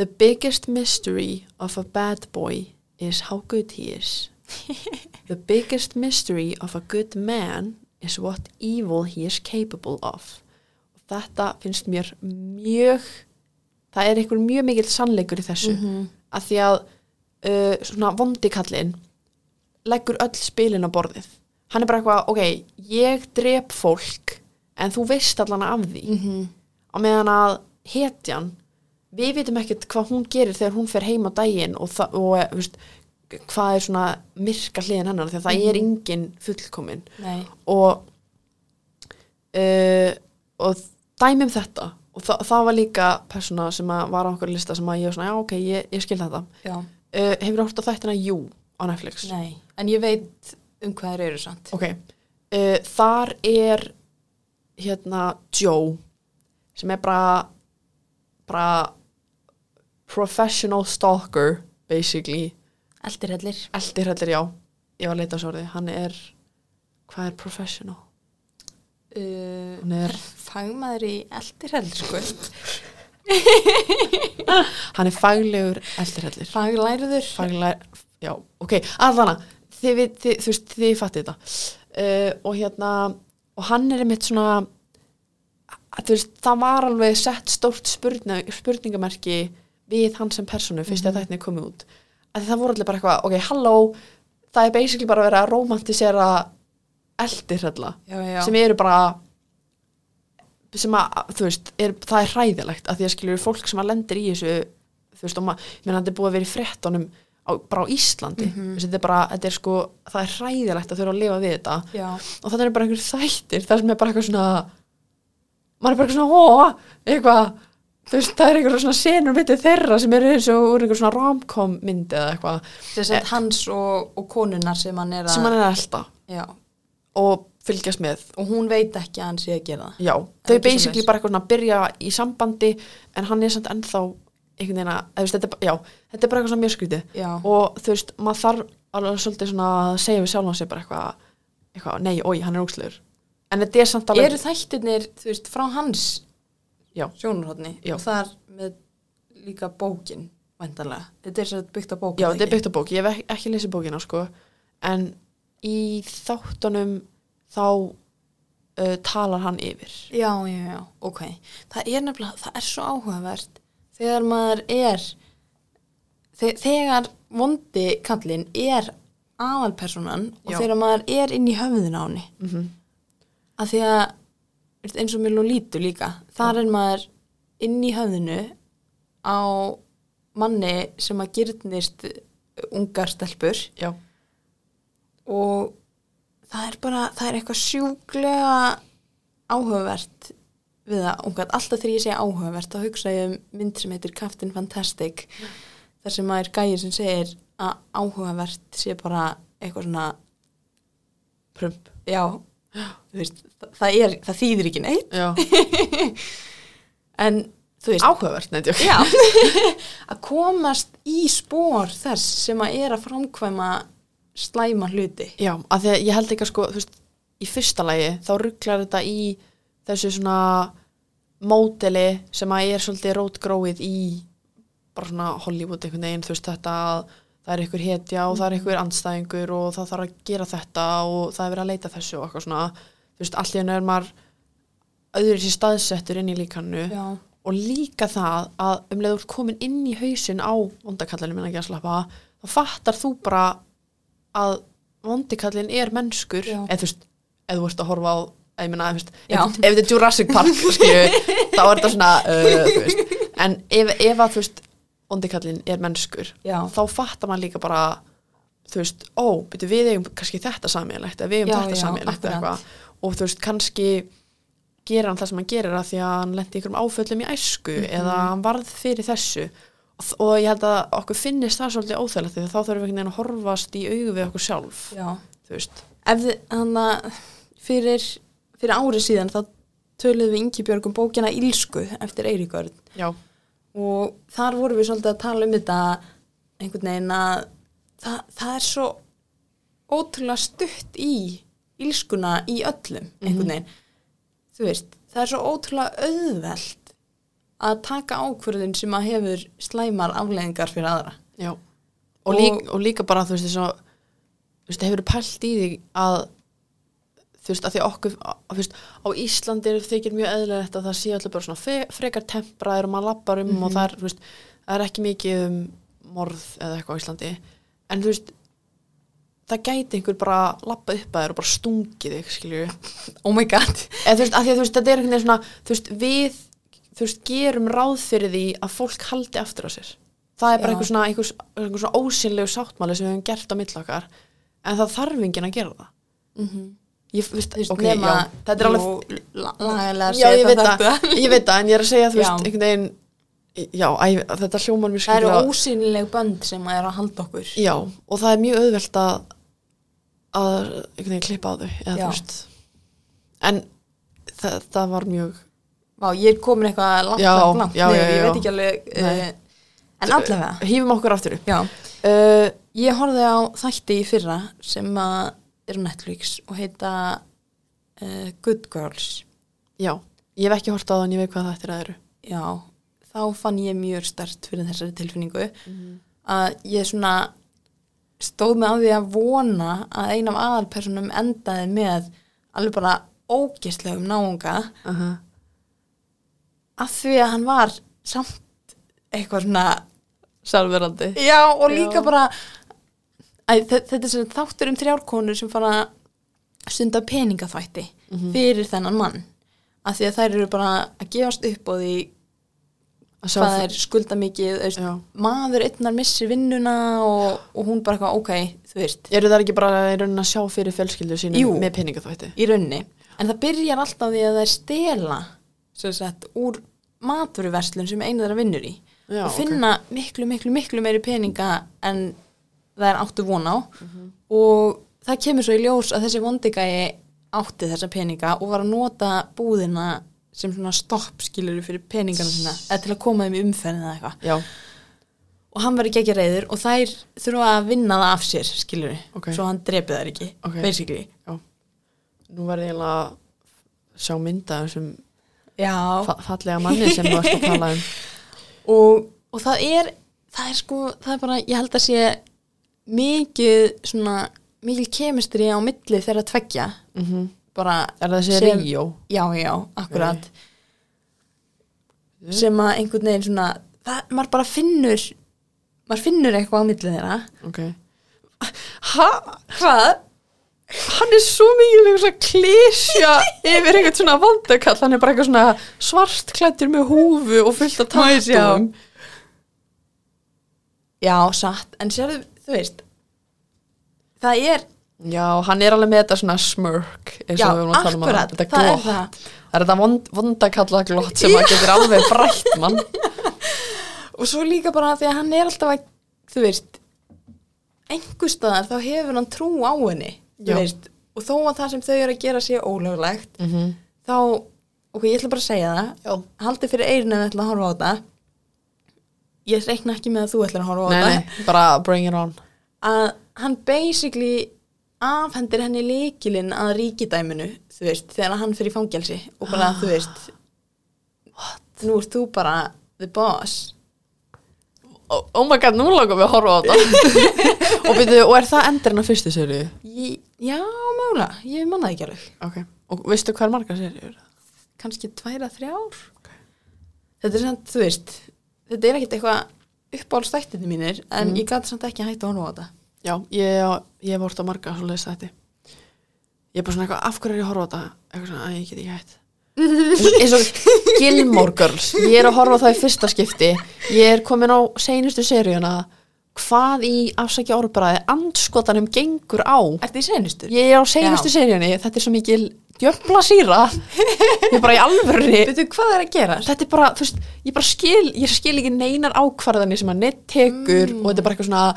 [SPEAKER 1] The biggest mystery of a bad boy is how good he is The biggest mystery of a good man is what evil he is capable of og þetta finnst mér mjög það er einhver mjög mikill sannleikur í þessu
[SPEAKER 2] Mhm.
[SPEAKER 1] að því að uh, svona vondikallin leggur öll spilin á borðið hann er bara eitthvað, ok, ég drep fólk en þú veist allan af því
[SPEAKER 2] Mhm.
[SPEAKER 1] á meðan að hetjan við vitum ekkert hvað hún gerir þegar hún fer heim á daginn og, það- og eh, þú veist, hvað er svona myrka hliðin hennar þegar það er engin fullkomin
[SPEAKER 2] nei,
[SPEAKER 1] og uh, og dæmi um þetta og það, það var líka persóna sem að var á okkur lista sem að ég var svona, já ok, ég, ég skil þetta
[SPEAKER 2] já,
[SPEAKER 1] uh, hefur hort á þættina Jú á Netflix
[SPEAKER 2] nei en ég veit um hvað þeir eru samt
[SPEAKER 1] ok, uh, þar er hérna Joe sem er bara bara professional stalker basically
[SPEAKER 2] eldir hellir,
[SPEAKER 1] eldir heldur já, ég var að leita á svo orðið hann er, hvað er professional?
[SPEAKER 2] uh,
[SPEAKER 1] hann er,
[SPEAKER 2] fagmaður í eldir hellir sko
[SPEAKER 1] hann er faglegur eldir heldur
[SPEAKER 2] faglæriður
[SPEAKER 1] faglæri, já, ok, allan að þið, við- þið, þú veist, þið fattið þetta uh, og hérna og hann er einmitt svona að, þú veist, það var alveg sett stórt spurna, spurningamerki við hann sem personu, fyrst að þetta er komið út að það voru allir bara eitthvað, ok, halló það er basically bara að hérna. vera að romantisera eldirhella
[SPEAKER 2] já, já,
[SPEAKER 1] sem eru bara sem að, þú veist, er, það er hræðilegt að því að skilur fólk sem að lendir í þessu þú veist, og maður, ég meina þetta er búið að vera í fréttunum á, bara á Íslandi mm -hmm. þetta er bara, þetta er sko, það er hræðilegt að þurfa að lifa við þetta
[SPEAKER 2] já,
[SPEAKER 1] og þetta er bara einhver þættir, það sem er bara eitthvað svona maður er bara eitthvað svona, ó, eitthvað þú veist, það er einhver svona senur myndið þeirra sem eru eins og úr einhver svona romcom myndi eða eitthvað,
[SPEAKER 2] sem sagt hans og, og konunar sem hann er að
[SPEAKER 1] Eh. sem hann er alltaf
[SPEAKER 2] já,
[SPEAKER 1] og fylgjast með
[SPEAKER 2] og hún veit ekki að hann sé að gera það
[SPEAKER 1] Já, þau
[SPEAKER 2] ekki
[SPEAKER 1] basically
[SPEAKER 2] svoleiðis.
[SPEAKER 1] bara eitthvað svona byrja í sambandi en hann er samt ennþá einhvern veginn að, eða þú veist, þetta, er bara- já, þetta er bara eitthvað svona mjög skrítið
[SPEAKER 2] já,
[SPEAKER 1] og þú veist, maður þarf alveg svolítið svona að segja við sjálfan sig bara eitthvað, eitthvað, nei, oi, hann er ógslugur en þetta er samt alveg
[SPEAKER 2] eru þættirnir, þú veist, frá hans
[SPEAKER 1] Já.
[SPEAKER 2] sjónurhóttni
[SPEAKER 1] Já.
[SPEAKER 2] og það er með líka bókin væntanlega, þetta er svo byggt á bókin
[SPEAKER 1] Já, þetta er byggt á bók, ég hef ek- ekki lesið bókina sko, en í þáttunum þá uh, talar hann yfir
[SPEAKER 2] já, já, já, ok það er nefnilega, það er svo áhugavert þegar maður er þe- þegar vondi kallinn er aðalpersonan og
[SPEAKER 1] Já.
[SPEAKER 2] þegar maður er inn í höfðin á henni
[SPEAKER 1] mm -hmm.
[SPEAKER 2] að því að veist, eins og mér ló lítur líka þar er maður inn í höfðinu á manni sem að gyrnist ungar stelpur
[SPEAKER 1] já,
[SPEAKER 2] og það er bara, það er eitthvað sjúklega áhugavert við það, ungar, alltaf þegar ég segja áhugavert þá hugsa ég um mynd sem heitir Captain Fantastic þar sem maður gæir sem segir að áhugavert sé bara eitthvað svona prump, já þú veist, það, það, er, það þýðir ekki neitt
[SPEAKER 1] já.
[SPEAKER 2] en þú veist,
[SPEAKER 1] áhugavert, neitt, já.
[SPEAKER 2] já að komast í spór þess sem að er að framkvæma slæma hluti
[SPEAKER 1] Já, af því að ég held ekki að sko, þú veist, í fyrsta lagi þá rugglar þetta í þessu svona móteli sem að er svolítið rótgróið í bara svona Hollywood einhvern veginn, þú veist þetta að það er ykkur hetja og það er ykkur andstæðingur og það þarf að gera þetta og það er verið að leita þessu og eitthvað svona, þú veist, allir er maður öðru sér staðsettur inn í líkannu
[SPEAKER 2] já,
[SPEAKER 1] og líka það að um leið þú ert komin inn í hausin á vondakallinu minna ekki að slappa þá fattar þú bara að vondikallin er mennskur
[SPEAKER 2] Já.
[SPEAKER 1] eða þú veist, eða þú ert að horfa á eða ég meina, þú veist,
[SPEAKER 2] Já.
[SPEAKER 1] ef, ef þetta er Jurassic Park skilju, þá er þetta svona uh, þú veist, en ef, ef að þú veist vondikallin er mennskur
[SPEAKER 2] já,
[SPEAKER 1] þá fattar maður líka bara þú veist, ó, byrju, við eigum kannski þetta samíðanlegt, við eigum
[SPEAKER 2] Já,
[SPEAKER 1] þetta
[SPEAKER 2] já,
[SPEAKER 1] samíðanlegt
[SPEAKER 2] akkurat.
[SPEAKER 1] eitthvað og þú veist, kannski gera hann það sem hann gerir að því að hann lendi ykkur um áföllum í æsku
[SPEAKER 2] Mhm.
[SPEAKER 1] eða hann varð fyrir þessu og, þ- og ég held að okkur finnist það svolítið óþægilegt því að þá þurfum við einhvern veginn að horfast í augu við okkur sjálf,
[SPEAKER 2] já.
[SPEAKER 1] þú veist
[SPEAKER 2] ef hann að fyrir, fyrir árið síðan þá töluðum við Ingibjörg um bókina Ílsku eftir Eiríkörn
[SPEAKER 1] já,
[SPEAKER 2] og þar vorum við svolítið að tala um þetta einhvern veginn að það, það er svo ótrúlega stutt í ílskuna í öllum einhvern veginn þú veist, það er svo ótrúlega auðvelt að taka ákvörðun sem að hefur slæmar afleðingar fyrir aðra
[SPEAKER 1] já og, lík, og líka bara, þú veist, þess að þú veist, hefur pælt í því að þú veist, að því að okkur að, þú veist, á Íslandi er- þykir mjög eðlilegt að það sé alltaf bara svona fe, frekar tempraðir og maður lappar um og það er, þú veist, það er ekki mikið um morð eða eitthvað á Íslandi en þú veist það gæti einhver bara lappa upp að þér og bara stungið þig, skilju
[SPEAKER 2] oh my god
[SPEAKER 1] eða þú veist, að því að þú veist, þetta er einhvern veginn svona þú veist, við, þú veist, gerum ráð fyrir því að fólk haldi aftur á sér það er bara
[SPEAKER 2] Já.
[SPEAKER 1] einhver svona, einhver, einhver svona ósynlegu sáttmáli sem við höfum gert á milli okkar en það þarf enginn að gera það
[SPEAKER 2] mm -hmm.
[SPEAKER 1] Ég, þú veist,
[SPEAKER 2] þú veist,
[SPEAKER 1] ok,
[SPEAKER 2] nema
[SPEAKER 1] já, þetta er alveg
[SPEAKER 2] jú, la- lagalega
[SPEAKER 1] já,
[SPEAKER 2] séð
[SPEAKER 1] ég
[SPEAKER 2] þá
[SPEAKER 1] veit
[SPEAKER 2] þarf
[SPEAKER 1] það,
[SPEAKER 2] þetta-
[SPEAKER 1] ég veit það, en ég er að segja, þú
[SPEAKER 2] Já.
[SPEAKER 1] veist, einhvern veginn, já, æ, þetta hljómar mjög
[SPEAKER 2] það
[SPEAKER 1] skilur
[SPEAKER 2] eru ósynileg bönd sem að er að halda okkur
[SPEAKER 1] já, og það er mjög auðvelt að, að einhvern veginn klippa á þau, eða
[SPEAKER 2] Já.
[SPEAKER 1] þú veist, en það, það var mjög,
[SPEAKER 2] Vá, ég er komin eitthvað langt,
[SPEAKER 1] Já,
[SPEAKER 2] langt, langt
[SPEAKER 1] já,
[SPEAKER 2] niður,
[SPEAKER 1] já, já.
[SPEAKER 2] ég veit ekki alveg uh,
[SPEAKER 1] Nei.
[SPEAKER 2] en allavega
[SPEAKER 1] hýfum okkur aftur upp,
[SPEAKER 2] já.
[SPEAKER 1] uh,
[SPEAKER 2] ég horfði á þætti í fyrra sem að er á Netflix og heita uh, Good Girls
[SPEAKER 1] já, ég hef ekki hort á það en ég veit hvað þetta er að eru,
[SPEAKER 2] já, þá fann ég mjög stert fyrir þessari tilfinningu að ég svona stóð með á því að vona að ein af aðalpersonum endaði með alveg bara ógistlegum náunga
[SPEAKER 1] uh
[SPEAKER 2] af því að hann var samt eitthvað svona
[SPEAKER 1] sálverandi,
[SPEAKER 2] Já, og líka
[SPEAKER 1] Já.
[SPEAKER 2] bara æ, þe- þetta er sem sagt þáttur um þrjárkonur sem fara að stunda peningaþvætti fyrir þennan mann af því að þær eru bara að gefast upp á því
[SPEAKER 1] að sjá,
[SPEAKER 2] hvað
[SPEAKER 1] það-
[SPEAKER 2] þær skulda mikið þú veist,
[SPEAKER 1] Já.
[SPEAKER 2] maður einnar missir vinnuna og, og hún bara eitthvað, ok, þú veist
[SPEAKER 1] eru það ekki bara í raunin að sjá fyrir fjölskyldu sínum
[SPEAKER 2] Jú.
[SPEAKER 1] með peningaþvætti,
[SPEAKER 2] í raunni, en það byrjar alltaf á því að þær stela sem sagt, úr matveruverslun sem einu þeirra vinnur í
[SPEAKER 1] Já,
[SPEAKER 2] og finna miklu, miklu, miklu meiri peninga en þær áttu von á og það kemur svo í ljós að þessi vondigæi átti þessa peninga og var að nota búðina sem svona stopp skilur fyrir peningana sinna eða til að koma þeim í umferðin eða eitthvað
[SPEAKER 1] já,
[SPEAKER 2] og hann verður ekki reyður og þær þurfa að vinna það af sér skilur
[SPEAKER 1] Ok.
[SPEAKER 2] svo hann drepið þær ekki
[SPEAKER 1] Ok.
[SPEAKER 2] basically
[SPEAKER 1] já, nú verði ég eiginlega að sjá mynda þessum
[SPEAKER 2] Já,
[SPEAKER 1] fa- fallega manni sem þú varst að tala um
[SPEAKER 2] og, og það er það er sko, það er bara, ég held að sé mikið svona mikil kemistri á milli þeirra tveggja
[SPEAKER 1] mm -hmm.
[SPEAKER 2] bara,
[SPEAKER 1] Er það þessi
[SPEAKER 2] Sem-
[SPEAKER 1] Ríó?
[SPEAKER 2] já, já, akkurat
[SPEAKER 1] Nei.
[SPEAKER 2] sem að einhvern veginn svona það, maður bara finnur maður finnur eitthvað á milli þeirra
[SPEAKER 1] Ok ha,
[SPEAKER 2] hvað?
[SPEAKER 1] Hann er svo mikið einhver svona klísja yfir einhvern svona vandakall hann er bara eitthvað svona svart klættur með húfu og fullt af
[SPEAKER 2] Má ég sjá?
[SPEAKER 1] tattum
[SPEAKER 2] já, satt, en sérðu, þú veist það er,
[SPEAKER 1] Já, hann er alveg með þetta svona smörk eins
[SPEAKER 2] já,
[SPEAKER 1] og við vorum að tala um hann,
[SPEAKER 2] akkurat
[SPEAKER 1] þetta
[SPEAKER 2] það er
[SPEAKER 1] glott
[SPEAKER 2] það
[SPEAKER 1] Það er þetta vond, vondakalla glott sem að getur alveg brætt mann
[SPEAKER 2] og svo líka bara því að hann er alltaf að, þú veist einhverstaðar þá hefur hann trú á henni þú
[SPEAKER 1] Já.
[SPEAKER 2] veist, og þó að það sem þau eru að gera sé ólöglegt
[SPEAKER 1] mm -hmm.
[SPEAKER 2] þá, ok, ég ætla bara að segja það
[SPEAKER 1] Já,
[SPEAKER 2] haldið fyrir eirinu að ætla að horfa á þetta ég reikna ekki með að þú ætlar að horfa á
[SPEAKER 1] nei,
[SPEAKER 2] þetta
[SPEAKER 1] nei, bara bring it on
[SPEAKER 2] að hann basically afhendir henni líkilinn að ríkidæminu, þú veist, þegar hann fyrir fangelsi og bara, þú veist What? Nú ert þú bara the boss
[SPEAKER 1] Oh, oh my god, nú langar við að horfa á þetta og, byrju, og er það endurinn á fyrstu serið?
[SPEAKER 2] ég, Já, mála, ég manna það ekki alveg
[SPEAKER 1] Ok, og veistu hver margar serið?
[SPEAKER 2] kannski tværa, þrjár Þetta er samt, þú veist þetta er ekkert eitthvað uppáhaldstættinni mínir en
[SPEAKER 1] Mhm.
[SPEAKER 2] ég gæti samt ekki hægt að horfa á þetta
[SPEAKER 1] Já, ég, ég hef hort á margar svo leist þetta Ég er bara svona eitthvað, af hverju er ég að horfa á þetta? Eitthvað svona, að ég get ekki hætt eins og Gilmore Girls ég er að horfa á það í fyrsta skipti ég er komin á seinustu seríuna hvað í afsækja orðbræði andskotanum gengur á
[SPEAKER 2] Er þetta í seinustu?
[SPEAKER 1] ég er á seinustu
[SPEAKER 2] Já.
[SPEAKER 1] seríunni þetta er svo mikil djöfla síra ég er bara í alvörni
[SPEAKER 2] Veitu hvað er að gera?
[SPEAKER 1] þetta er bara, þú veist, ég bara skil ég skil ekki neinar ákvarðanir sem hann neitt tekur
[SPEAKER 2] Mm.
[SPEAKER 1] og þetta er bara eitthvað svona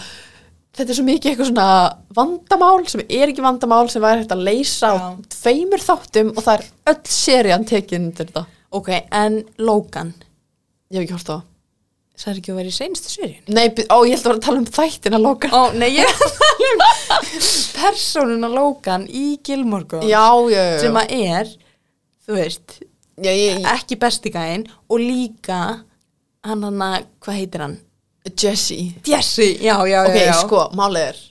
[SPEAKER 1] þetta er svo mikið eitthvað svona vandamál sem er ekki vandamál sem væri hægt að leysa á
[SPEAKER 2] Já.
[SPEAKER 1] tveimur þáttum og það er öll serían tekin undir þetta,
[SPEAKER 2] Ok, en Logan
[SPEAKER 1] ég hef ekki hort á það.
[SPEAKER 2] Sæður ekki að vera í seinustu seríun?
[SPEAKER 1] nei, by- ó, ég held að vera að tala um þættina loka
[SPEAKER 2] Ó, nei, ég er að tala um persónuna Logan í Gilmore Girls
[SPEAKER 1] já, já, já,
[SPEAKER 2] sem að er, þú veist
[SPEAKER 1] já, ég,
[SPEAKER 2] ekki besti gæinn og líka hann hann að, hvað heitir hann?
[SPEAKER 1] Jesse
[SPEAKER 2] Jesse, já, já,
[SPEAKER 1] ok,
[SPEAKER 2] já, já.
[SPEAKER 1] sko, málið er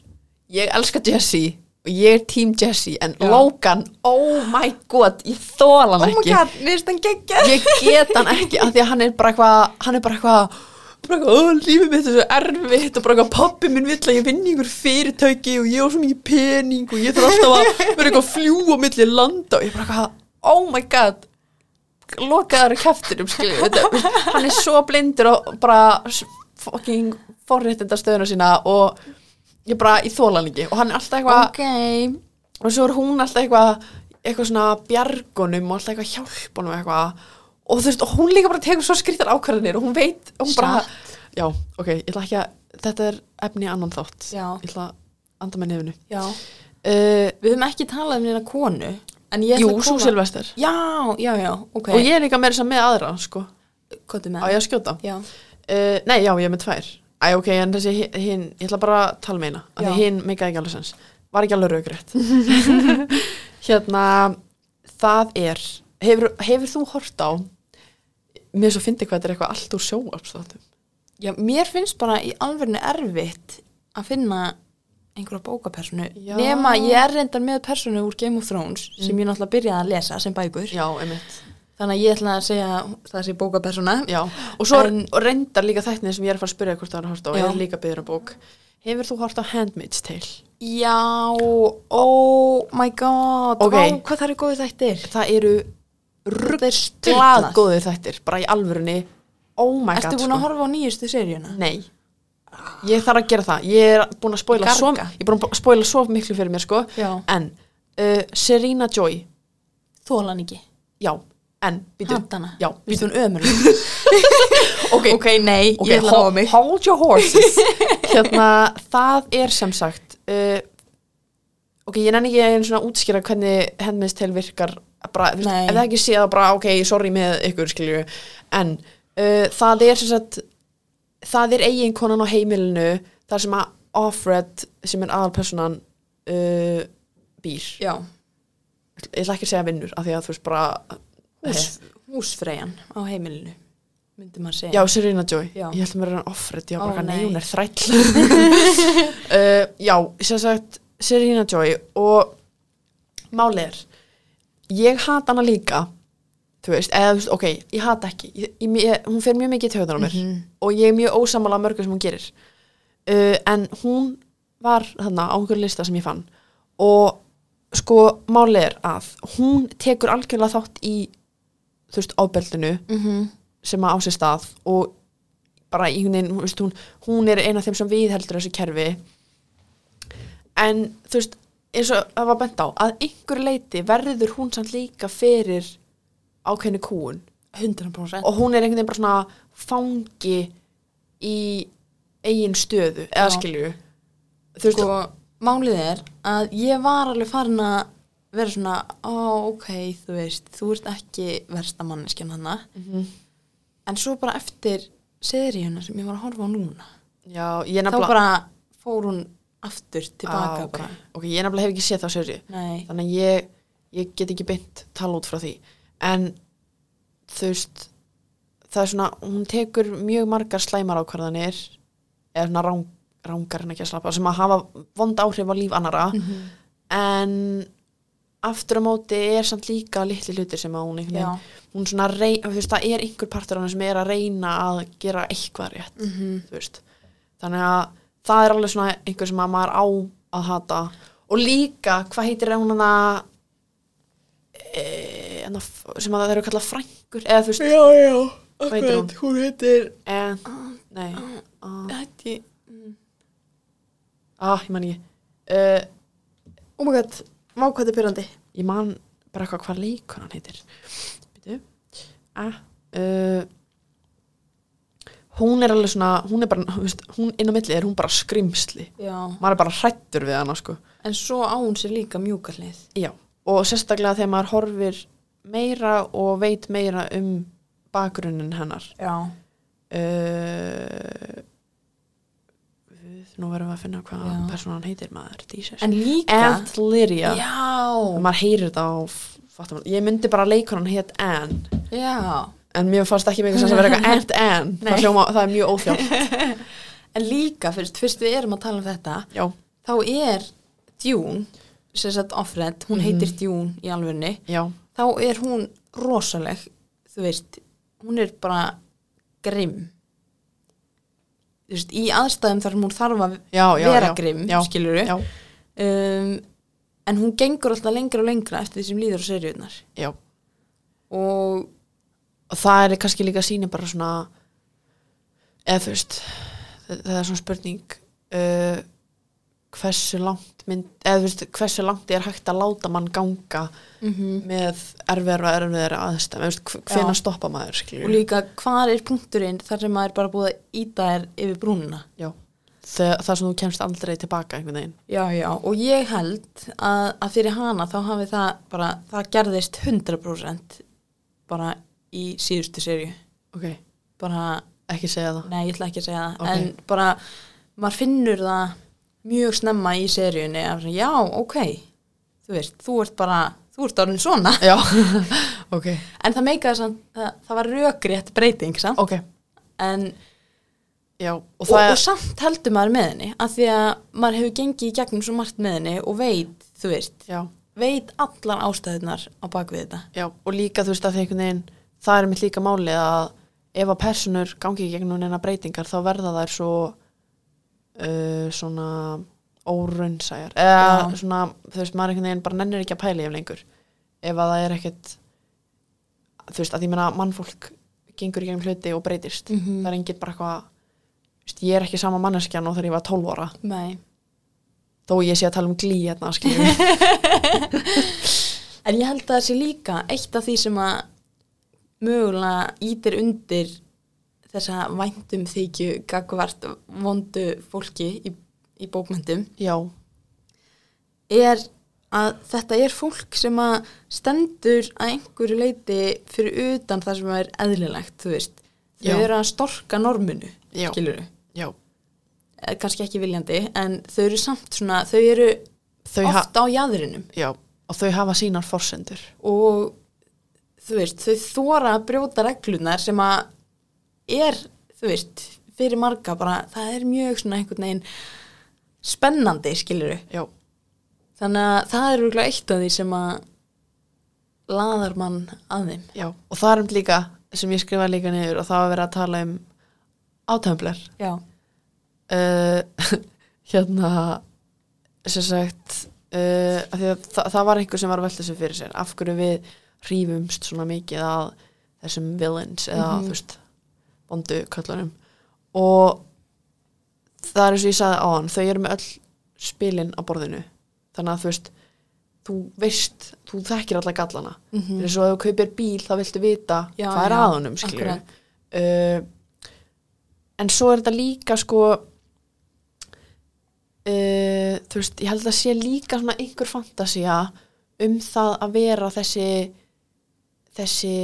[SPEAKER 1] ég elska Jesse og ég er team Jesse en
[SPEAKER 2] Já.
[SPEAKER 1] Logan, oh my god ég þóla hann
[SPEAKER 2] Oh my
[SPEAKER 1] ekki
[SPEAKER 2] god, við erum stann geggja
[SPEAKER 1] ég get hann ekki af því að hann er bara eitthvað hann er bara eitthvað bara eitthvað, "Ó, lífið mitt er svo erfitt og bara eitthvað, pappi minn vill að ég vinni ykkur fyrirtæki og ég á svo mikið pening og ég þarf alltaf að vera eitthvað fljú á milli landa og ég bara eitthvað, oh my god lokaður kæftinum, skilju þetta, veist, hann er svo blindur og bara s- fucking forréttindar stöðuna sína og ég bara, ég þóla hann ekki og hann er alltaf eitthvað
[SPEAKER 2] Ok,
[SPEAKER 1] og svo er hún alltaf eitthvað eitthvað svona bjargunum og alltaf eitthvað hjálpunum eitthvað og þú veist, og hún líka bara tekur svo skrítar ákvarðanir og hún veit, og hún bara já, ok, ég ætla ekki að þetta er efni í annan þátt
[SPEAKER 2] Já.
[SPEAKER 1] ég ætla að anda með nefnu
[SPEAKER 2] já
[SPEAKER 1] uh,
[SPEAKER 2] Við höfum ekki talað um hérna konu En ég ætla
[SPEAKER 1] Jú,
[SPEAKER 2] að
[SPEAKER 1] svo
[SPEAKER 2] koma
[SPEAKER 1] Silvester
[SPEAKER 2] Já, já, já, ok
[SPEAKER 1] og ég er líka meira sem með aðra, sko
[SPEAKER 2] Kottu
[SPEAKER 1] á
[SPEAKER 2] með
[SPEAKER 1] ég að skjóta
[SPEAKER 2] Já,
[SPEAKER 1] Uh, nei, já, ég er með tvær Æ, ok, en þessi hi- hinn, ég ætla bara að tala meina að
[SPEAKER 2] Já.
[SPEAKER 1] því hinn meikaði ekki alveg sens Var ekki alveg raugrætt Hérna, það er Hefur, hefur þú hort á Mér er svo fyndi hvað þetta er eitthvað allt úr sjóarpstátum
[SPEAKER 2] já, mér finnst bara í alvörinu erfitt að finna einhverja bókapersonu
[SPEAKER 1] Já. Mm.
[SPEAKER 2] nema ég er reyndar með personu úr Game of Thrones sem ég náttúrulega byrjaði að lesa sem bækur
[SPEAKER 1] Já, einmitt
[SPEAKER 2] þannig að ég ætla að segja að það sé bókapersona
[SPEAKER 1] Já, og svo
[SPEAKER 2] En-
[SPEAKER 1] en, og reyndar líka þættin sem ég er að fara að spyrja hvort það er að horta á
[SPEAKER 2] Já.
[SPEAKER 1] Ég er líka að byggður að bók Hefur þú hort á Handmaid's Tale?
[SPEAKER 2] Já, oh my god
[SPEAKER 1] Ok.
[SPEAKER 2] Vá, hvað það eru góðu þættir
[SPEAKER 1] Það eru
[SPEAKER 2] Þetta er
[SPEAKER 1] glad
[SPEAKER 2] styrlað
[SPEAKER 1] góðir þættir, bara í alvörunni Oh my god
[SPEAKER 2] Ertu búin að horfa á nýjustu seríuna?
[SPEAKER 1] Nei Ég þarf að gera það Ég er búin að spoila
[SPEAKER 2] Garga.
[SPEAKER 1] svo, ég er búin að spoila svo miklu fyrir mér sko
[SPEAKER 2] Já.
[SPEAKER 1] En uh, Serena Joy
[SPEAKER 2] Þólan ekki
[SPEAKER 1] Já, en býtu
[SPEAKER 2] Hantana
[SPEAKER 1] Já,
[SPEAKER 2] Býtum
[SPEAKER 1] býtu
[SPEAKER 2] ömur
[SPEAKER 1] Ok,
[SPEAKER 2] Ok, nei,
[SPEAKER 1] ok,
[SPEAKER 2] ég ætla að
[SPEAKER 1] ho-
[SPEAKER 2] hafa mig
[SPEAKER 1] Hold your horses Hérna, það er sem sagt uh, Ok, ég nenni ekki einu svona að útskýra hvernig Handmaid's Tale virkar bara, þú veist,
[SPEAKER 2] Nei.
[SPEAKER 1] Ef það ekki sé það bara, ok, sorry með ykkur skilju En uh, það er sem sagt það er eiginkonan á heimilinu þar sem að Offred sem er aðalpersonan uh, býr
[SPEAKER 2] Já,
[SPEAKER 1] ég ætla ekki að segja vinnur af því að þú veist bara eh,
[SPEAKER 2] Hús, húsfreyjan á heimilinu myndi maður segja
[SPEAKER 1] já, Serena Joy,
[SPEAKER 2] Já.
[SPEAKER 1] ég ætla mér að hann Offred já,
[SPEAKER 2] Ó,
[SPEAKER 1] bara nei,
[SPEAKER 2] nei.
[SPEAKER 1] hún er þræll uh, já, sem sagt Serena Joy og málið er ég hata hana líka þú veist, eða þú veist, ok, ég hata ekki ég, ég, ég, hún fer mjög mikið í töðan á mér
[SPEAKER 2] Mhm.
[SPEAKER 1] og ég er mjög ósamála mörgu sem hún gerir uh, en hún var þarna á einhverju lista sem ég fann og sko málið er að hún tekur algjörlega þátt í þú veist, ábeldinu
[SPEAKER 2] Mhm.
[SPEAKER 1] sem að á sér stað og bara í hún, hún, veist, hún, hún er eina af þeim sem viðheldur þessu kerfi en þú veist eins og það var bent á, að einhver leiti verður hún samt líka fyrir ákveðni kúun
[SPEAKER 2] 100%
[SPEAKER 1] og hún er einhvern veginn bara svona fangi í eigin stöðu, eða
[SPEAKER 2] Já.
[SPEAKER 1] skilju þú veist,
[SPEAKER 2] sko, málið er að ég var alveg farin að vera svona, ó, ok, þú veist, þú ert ekki versta manneskjan hana.
[SPEAKER 1] Mhm.
[SPEAKER 2] En svo bara eftir seríuna sem ég var að horfa á núna,
[SPEAKER 1] já, ég
[SPEAKER 2] þá
[SPEAKER 1] nefnilega
[SPEAKER 2] bara fór hún aftur tilbaka
[SPEAKER 1] ah, ok.
[SPEAKER 2] bara.
[SPEAKER 1] ok, ég nefnilega hef ekki séð þá sérju
[SPEAKER 2] Nei,
[SPEAKER 1] þannig að ég, ég get ekki beint tala út frá því en þú veist það er svona, hún tekur mjög margar slæmar ákvarðanir eða svona rang, rangar en ekki að slappa sem að hafa vond áhrif á líf annara
[SPEAKER 2] Mm. Mhm.
[SPEAKER 1] en aftur á móti er samt líka litli hlutir sem að hún einhvern
[SPEAKER 2] já.
[SPEAKER 1] veginn hún svona rey, þú veist, það er einhver partur hann sem er að reyna að gera eitthvað rétt
[SPEAKER 2] Mm
[SPEAKER 1] þú veist þannig að það er alveg svona einhver sem að maður á að hata og líka hvað heitir hún hana e, hana f- sem að það eru kallað frængur eða þú veist
[SPEAKER 2] Já, já,
[SPEAKER 1] Hvað heitir hún?
[SPEAKER 2] hún heitir...
[SPEAKER 1] e, nei ah,
[SPEAKER 2] Hætti, mm.
[SPEAKER 1] ah, ég man ekki uh,
[SPEAKER 2] oh my god, má hvað þetta er byrjandi.
[SPEAKER 1] ég man bara eitthvað hvað leikur hann heitir býtu ah, uh, hún er alveg svona hún er bara, þú veist, hún inn á milli er hún bara skrimsli
[SPEAKER 2] Já,
[SPEAKER 1] maður er bara hrættur við hana sko
[SPEAKER 2] en svo á hún sér líka mjúka hlið.
[SPEAKER 1] Já, og sérstaklega þegar maður horfir meira og veit meira um bakgrunnin hennar.
[SPEAKER 2] Já.
[SPEAKER 1] Uh, við- nú verðum við að finna hvað
[SPEAKER 2] Já.
[SPEAKER 1] persónan heitir maður, Jesus.
[SPEAKER 2] En líka...
[SPEAKER 1] Ant Lyria.
[SPEAKER 2] Já.
[SPEAKER 1] Maður heyrir þetta á, fattum maður, ég myndi bara að leikonan hétt Ann,
[SPEAKER 2] Já.
[SPEAKER 1] en mér fannst ekki mikið sem að vera eitthvað Ant Ann, það,
[SPEAKER 2] Nei.
[SPEAKER 1] hljóma, það er mjög óþjált.
[SPEAKER 2] En líka, fyrst, fyrst við erum að tala um þetta,
[SPEAKER 1] Já,
[SPEAKER 2] þá er Djún, sem sagt Offred,
[SPEAKER 1] Mhm.
[SPEAKER 2] hún heitir Djún í alvörni,
[SPEAKER 1] já,
[SPEAKER 2] þá er hún rosaleg, þú veist, hún er bara grimm. Þú veist, í aðstæðum þar sem hún þarf að
[SPEAKER 1] já, já.
[SPEAKER 2] vera
[SPEAKER 1] já,
[SPEAKER 2] grimm,
[SPEAKER 1] já,
[SPEAKER 2] skilur við.
[SPEAKER 1] Já,
[SPEAKER 2] Um, en hún gengur alltaf lengra og lengra eftir því sem líður á seriðunar.
[SPEAKER 1] já.
[SPEAKER 2] Og
[SPEAKER 1] og það er kannski líka síni bara svona eða þú veist það það er svona spurning uh, hversu langt mynd, eða þú veist hversu langt er hægt að láta mann ganga
[SPEAKER 2] mm
[SPEAKER 1] með erfiðar og erfiðar aðstæð
[SPEAKER 2] Já.
[SPEAKER 1] hvernig stoppa maður
[SPEAKER 2] Og
[SPEAKER 1] skilur
[SPEAKER 2] líka, hvar er punkturinn þar sem maður er bara búið að íta þér yfir brúnuna?
[SPEAKER 1] það, það sem þú kemst aldrei tilbaka einhvern veginn
[SPEAKER 2] Já, já, og ég held að, að fyrir hana þá hafi það bara, það gerðist 100% bara í síðustu serju.
[SPEAKER 1] ok,
[SPEAKER 2] Bara,
[SPEAKER 1] ekki segja það
[SPEAKER 2] nei, ég ætla ekki að segja það,
[SPEAKER 1] Ok.
[SPEAKER 2] en bara, maður finnur það mjög snemma í serjunni að svona, já, ok, þú veist, þú ert bara, þú ert orðin svona.
[SPEAKER 1] já, ok,
[SPEAKER 2] En það meikaði samt, það, það var rökrétt breyting, samt,
[SPEAKER 1] ok
[SPEAKER 2] en
[SPEAKER 1] já, og
[SPEAKER 2] og, og,
[SPEAKER 1] það er
[SPEAKER 2] samt heldur maður með henni af því að maður hefur gengið í gegnum svo margt með henni og veit, þú veist
[SPEAKER 1] já,
[SPEAKER 2] veit allar ástæðunar á bakvið þetta
[SPEAKER 1] Já, og líka þú veist að því einhvern veginn það er mitt líka málið að ef að personur gangi í gegnum neina breytingar þá verða þær svo uh, svona órunnsæjar eða
[SPEAKER 2] Já.
[SPEAKER 1] svona, þú veist, maður einhvern veginn bara nennir ekki að pæla í ef lengur ef að það er ekkert þú veist, að ég meina mannfólk gengur í gegnum hluti og breytist
[SPEAKER 2] Mhm.
[SPEAKER 1] það er enginn bara eitthvað þú veist, ég er ekki sama manneskjan og þegar ég var 12 ára
[SPEAKER 2] Nei.
[SPEAKER 1] þó ég sé að tala um glý hérna skiljum,
[SPEAKER 2] en ég held að það sé líka eitt af því sem að mögulega ítir undir þessa væntum þykju gagvart vondu fólki í, í bókmyndum
[SPEAKER 1] já,
[SPEAKER 2] er að þetta er fólk sem að stendur að einhverju leiti fyrir utan það sem er eðlilegt, þú veist þau
[SPEAKER 1] Já.
[SPEAKER 2] eru að storka norminu
[SPEAKER 1] Já.
[SPEAKER 2] skilur þau,
[SPEAKER 1] já
[SPEAKER 2] kannski ekki viljandi en þau eru samt svona, þau eru
[SPEAKER 1] þau, ha
[SPEAKER 2] oft á jæðrinum
[SPEAKER 1] já, og þau hafa sínar forsendur
[SPEAKER 2] og þú veist, þau þóra að brjóta reglunar sem að er, þú veist, fyrir marga bara, það er mjög svona einhvern veginn spennandi, skilur þau
[SPEAKER 1] já
[SPEAKER 2] Þannig að það er rúglega eitt af því sem að laðar mann að þeim.
[SPEAKER 1] Já, og það er um líka sem ég skrifaði líka niður og það var verið að tala um átömblar
[SPEAKER 2] Já.
[SPEAKER 1] uh, hérna sem sagt uh, af því að það, það var einhver sem var að velta sig fyrir sér af hverju við rífumst svona mikið að þessum villains eða
[SPEAKER 2] Mhm.
[SPEAKER 1] þú veist bondu köllunum og það er eins og ég sagði á hann þau eru með öll spilin á borðinu þannig að þú veist þú veist, þú þekkir alla gallana mm
[SPEAKER 2] Mhm.
[SPEAKER 1] -hmm. eins og ef þú kaupir bíl þá viltu vita
[SPEAKER 2] Já,
[SPEAKER 1] hvað er
[SPEAKER 2] já,
[SPEAKER 1] aðunum skilur
[SPEAKER 2] akkurat.
[SPEAKER 1] uh, en svo er þetta líka sko uh, þú veist, ég held að sé líka svona einhver fantasía um það að vera þessi þessi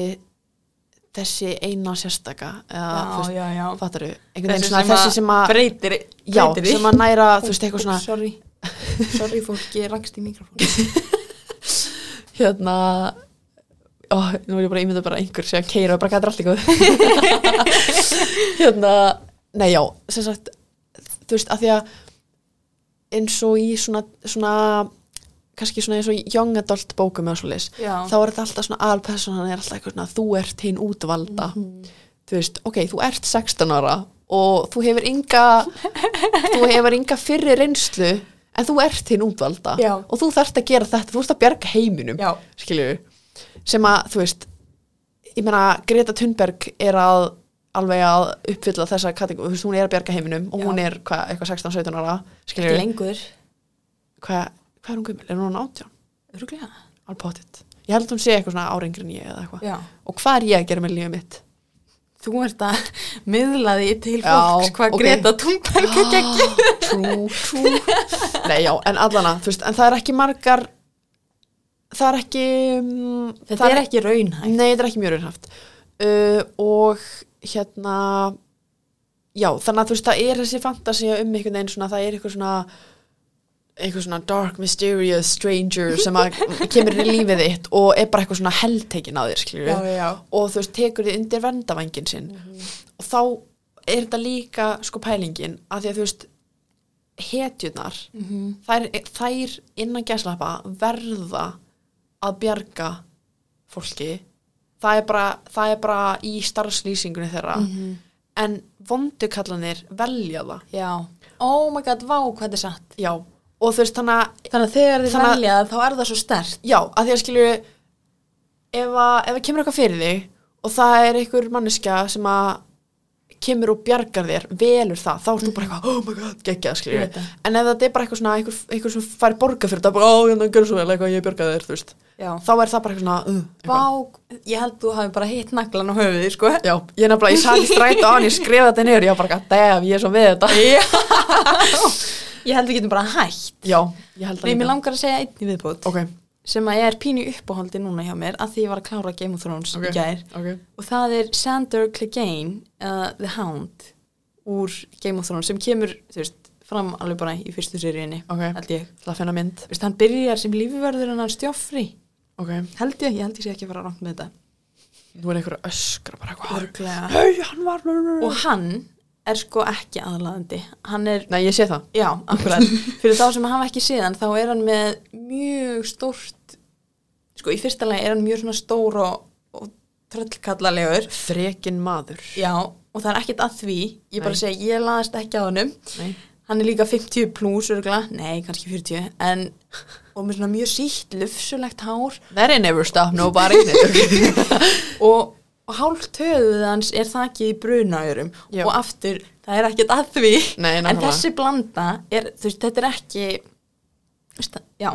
[SPEAKER 1] þessi eina sérstaka eða,
[SPEAKER 2] Já,
[SPEAKER 1] þú veist,
[SPEAKER 2] já, já.
[SPEAKER 1] fattaru einhvern veginn svona þessi sem að
[SPEAKER 2] breytir,
[SPEAKER 1] já,
[SPEAKER 2] breytir
[SPEAKER 1] sem að næra, þú veist, eitthvað svona
[SPEAKER 2] sorry, sorry fólk, ég rakst í mikrofón
[SPEAKER 1] hérna ó, nú er ég bara ímyndað bara einhver sem keira og bara gætir allt eitthvað hérna, nei já sem sagt, þú veist, að því að eins og í svona, svona kannski svona eins og í young adult bókum eða svoleiðis,
[SPEAKER 2] Já.
[SPEAKER 1] þá er þetta alltaf svona alpersonan er alltaf eitthvað svona, þú ert hinn útvalda
[SPEAKER 2] Mhm.
[SPEAKER 1] þú veist, ok, þú ert 16 ára og þú hefur enga þú hefur enga fyrri reynslu en þú ert hinn útvalda
[SPEAKER 2] Já.
[SPEAKER 1] og þú þarft að gera þetta, þú ert að bjarga heiminum
[SPEAKER 2] Já.
[SPEAKER 1] skilju, sem að þú veist, ég meina Greta Thunberg er að alveg að uppfylla þessa kategóri, þú veist, hún er að bjarga heiminum og
[SPEAKER 2] Já.
[SPEAKER 1] hún er hva, eitthvað 16-17 ára skilju,
[SPEAKER 2] Ekki lengur,
[SPEAKER 1] hvað hva er hún gömul, er hún 18?
[SPEAKER 2] öruglega
[SPEAKER 1] Alveg pottitt, ég held að hún sé eitthvað svona árengri en ég eða eitthvað,
[SPEAKER 2] Já,
[SPEAKER 1] og hvað er ég að gera með lífið mitt?
[SPEAKER 2] þú ert að miðla því til
[SPEAKER 1] Já,
[SPEAKER 2] fólks hvað
[SPEAKER 1] ok.
[SPEAKER 2] Greta Thunberg er gegn
[SPEAKER 1] trú, trú Nei, já, en allana, þú veist, en það er ekki margar það er ekki um,
[SPEAKER 2] Þetta er ekki raunhægt
[SPEAKER 1] Nei, þetta er ekki mjög raunhaft uh, og hérna já, þannig að þú veist, það er þessi fantasía um einhvern veginn svona, það er eitthvað svona eitthvað svona dark, mysterious stranger sem að kemur inn í lífið þitt og er bara eitthvað svona heldtekin á þér, skilur
[SPEAKER 2] Já, já, já.
[SPEAKER 1] og þú veist, tekur þið undir vendavængin sinn
[SPEAKER 2] Mhm.
[SPEAKER 1] og þá er þetta líka sko pælingin að því að þú veist hetjurnar
[SPEAKER 2] Mhm.
[SPEAKER 1] þær, þær innan gæslappa verða að bjarga fólki það er bara, það er bara í starfslýsingunni þeirra
[SPEAKER 2] Ah. Mhm.
[SPEAKER 1] en vondukallanir velja það
[SPEAKER 2] Já, oh my god, vá hvað þetta er satt
[SPEAKER 1] já, og þú veist þannig að
[SPEAKER 2] Þannig að þegar þið
[SPEAKER 1] Þannig að-
[SPEAKER 2] velja þá er það svo stert
[SPEAKER 1] já, að því að skilju ef að, ef að kemur eitthvað fyrir þig og það er einhver manneskja sem að kemur og bjargar þér velur það, þá ert þú bara eitthvað oh my god, geggjað, skilju,
[SPEAKER 2] Mhm. Ég veit það.
[SPEAKER 1] en ef þetta er bara eitthvað svona, einhver, einhver sem fær borga fyrir þetta bara, ó, hérna, gjör svo vel, eitthvað, ég bjargaði þér, þú veist
[SPEAKER 2] Já,
[SPEAKER 1] þá er það bara eitthvað svona, uh,
[SPEAKER 2] vá,
[SPEAKER 1] eitthvað
[SPEAKER 2] ég held þú hafi bara hitt naglan á höfuði, sko
[SPEAKER 1] já, ég er nefnilega, ég satt í strætu á hann, ég skrifa þetta niður, ég var bara, damn, ég er svo við þetta
[SPEAKER 2] Já Ég held við getum bara hætt hérna.
[SPEAKER 1] já, ég held
[SPEAKER 2] Nei,
[SPEAKER 1] það
[SPEAKER 2] mér langar að segja einni viðbót
[SPEAKER 1] ok,
[SPEAKER 2] sem að er pínu uppáhaldi núna hjá mér að því ég var að klára Game of Thrones
[SPEAKER 1] ok,
[SPEAKER 2] í gær
[SPEAKER 1] ok,
[SPEAKER 2] og það er Sander Clegane uh, The Hound úr Game of Thrones sem kemur, þú veist, fram alveg bara í fyrstu seríunni,
[SPEAKER 1] Ok.
[SPEAKER 2] held ég
[SPEAKER 1] það finna mynd
[SPEAKER 2] Þú veist, hann byrjar sem lífverður en hann stjófri
[SPEAKER 1] ok,
[SPEAKER 2] held ég, ég held ég sé ekki að fara rangt með þetta
[SPEAKER 1] nú er einhver að öskra bara eitthvað,
[SPEAKER 2] Örglega.
[SPEAKER 1] hei, hann var
[SPEAKER 2] og hann er sko ekki aðlaðandi hann er,
[SPEAKER 1] nei, ég sé það
[SPEAKER 2] já, akkurat fyrir þá sem hafa ekki séðan þá er hann með mjög stórt sko, í fyrsta lagi er hann mjög svona stór og, og tröllkallalegur
[SPEAKER 1] Frekin maður
[SPEAKER 2] já, og það er ekkert að því ég bara
[SPEAKER 1] Nei.
[SPEAKER 2] segi, ég laðast ekki á honum
[SPEAKER 1] Nei.
[SPEAKER 2] hann er líka 50 pluss örgla, nei, kannski 40 en, og með svona mjög sítt lufsulegt hár
[SPEAKER 1] Very never stop nobody
[SPEAKER 2] og, og hálft höfuð hans er þakið í brunaurum
[SPEAKER 1] Já.
[SPEAKER 2] og aftur, það er ekkert að því
[SPEAKER 1] Nei,
[SPEAKER 2] en
[SPEAKER 1] nákvæmlega.
[SPEAKER 2] þessi blanda er, þú veist, þetta er ekki þú veist, já,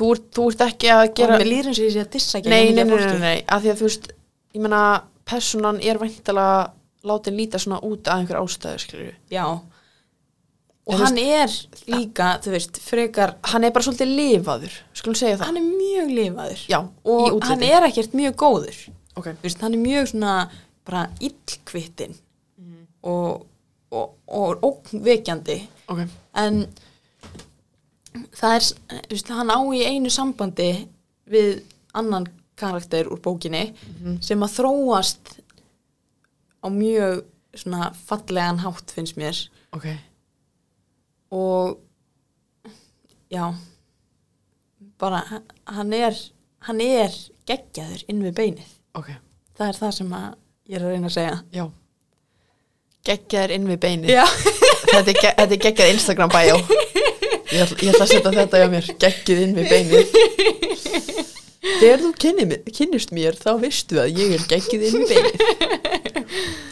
[SPEAKER 1] þú, ert, þú ert ekki að
[SPEAKER 2] gera,
[SPEAKER 1] gera
[SPEAKER 2] og með lýrin sem ég sé að dissa ekki
[SPEAKER 1] nei, nei, nei, nei, nei, að því að þú veist ég meina, personan er væntalega látin líta svona út að einhver ástæðu skilur
[SPEAKER 2] já
[SPEAKER 1] En
[SPEAKER 2] og
[SPEAKER 1] þú
[SPEAKER 2] hann er líka, þú veist, frekar
[SPEAKER 1] hann er bara svolítið lifaður, skulum segja það
[SPEAKER 2] hann er mjög lifaður
[SPEAKER 1] já, í
[SPEAKER 2] og hann
[SPEAKER 1] útliti
[SPEAKER 2] er ekkert mjög góður
[SPEAKER 1] ok,
[SPEAKER 2] þú veist, hann er mjög svona bara illkvittin og, og, og, og ógnvekjandi
[SPEAKER 1] ok,
[SPEAKER 2] en það er, þú veist, hann á í einu sambandi við annan karakter úr bókinni
[SPEAKER 1] Mhm.
[SPEAKER 2] sem að þróast á mjög svona fallegan hátt finnst mér
[SPEAKER 1] ok
[SPEAKER 2] og já bara h- hann er hann er geggjaður inn við beinið
[SPEAKER 1] ok,
[SPEAKER 2] það er það sem að ég er að reyna að segja
[SPEAKER 1] já geggjaður inn við beini
[SPEAKER 2] já,
[SPEAKER 1] þetta er, ge- þetta er geggjað Instagram bio ég ætla, ég ætla að setja þetta hjá mér geggið inn við beinu þegar þú kynni, kynnist mér þá veistu að ég er geggið inn við beinu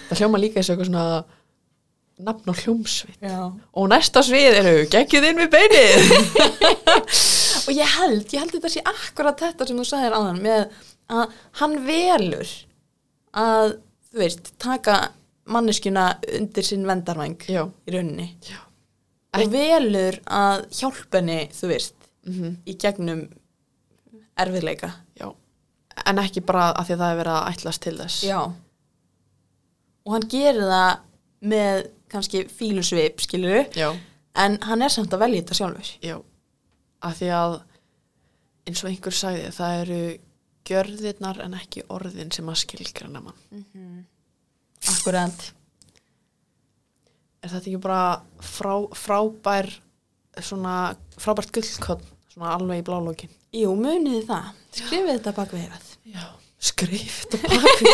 [SPEAKER 1] það hljóma líka eins og eitthvað svona nafn á hljómsveit
[SPEAKER 2] Já.
[SPEAKER 1] og næsta svið eru geggið inn við beinið
[SPEAKER 2] Og ég held, ég held þetta sé akkurat þetta sem þú sagðir áðan með að hann velur að, þú veist, taka manneskjuna undir sinn vendarvæng
[SPEAKER 1] Já.
[SPEAKER 2] í rauninni.
[SPEAKER 1] Já.
[SPEAKER 2] Og velur að hjálpa henni, þú veist,
[SPEAKER 1] Mhm.
[SPEAKER 2] í gegnum erfiðleika.
[SPEAKER 1] Já. en ekki bara af því að það er verið að ætlast til þess
[SPEAKER 2] Já. Og hann gerir það með kannski fílusvip, skilur
[SPEAKER 1] já,
[SPEAKER 2] en hann er samt að velja þetta sjálfur.
[SPEAKER 1] já. af því að eins og einhver sagði það eru gjörðirnar en ekki orðin sem að skilgrana mann
[SPEAKER 2] Akkurat.
[SPEAKER 1] er þetta ekki bara frá, frábær svona, frábært gullkotn svona alveg í blálókin
[SPEAKER 2] Jú, munið þið það. Skrifið þetta bak við það.
[SPEAKER 1] skrift og pakk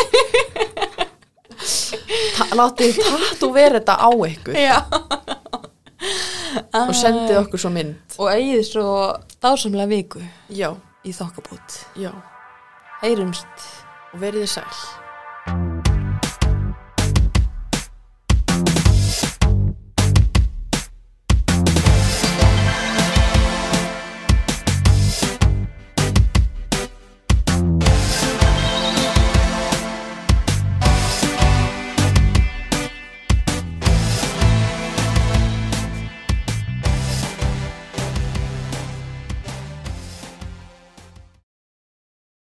[SPEAKER 1] Ta látið tattu vera þetta á ykkur
[SPEAKER 2] Já.
[SPEAKER 1] og sendið okkur svo mynd
[SPEAKER 2] Og eigið svo dásamlega viku
[SPEAKER 1] já,
[SPEAKER 2] í þokkabút.
[SPEAKER 1] já,
[SPEAKER 2] Heyrumst.
[SPEAKER 1] og verið þið sæl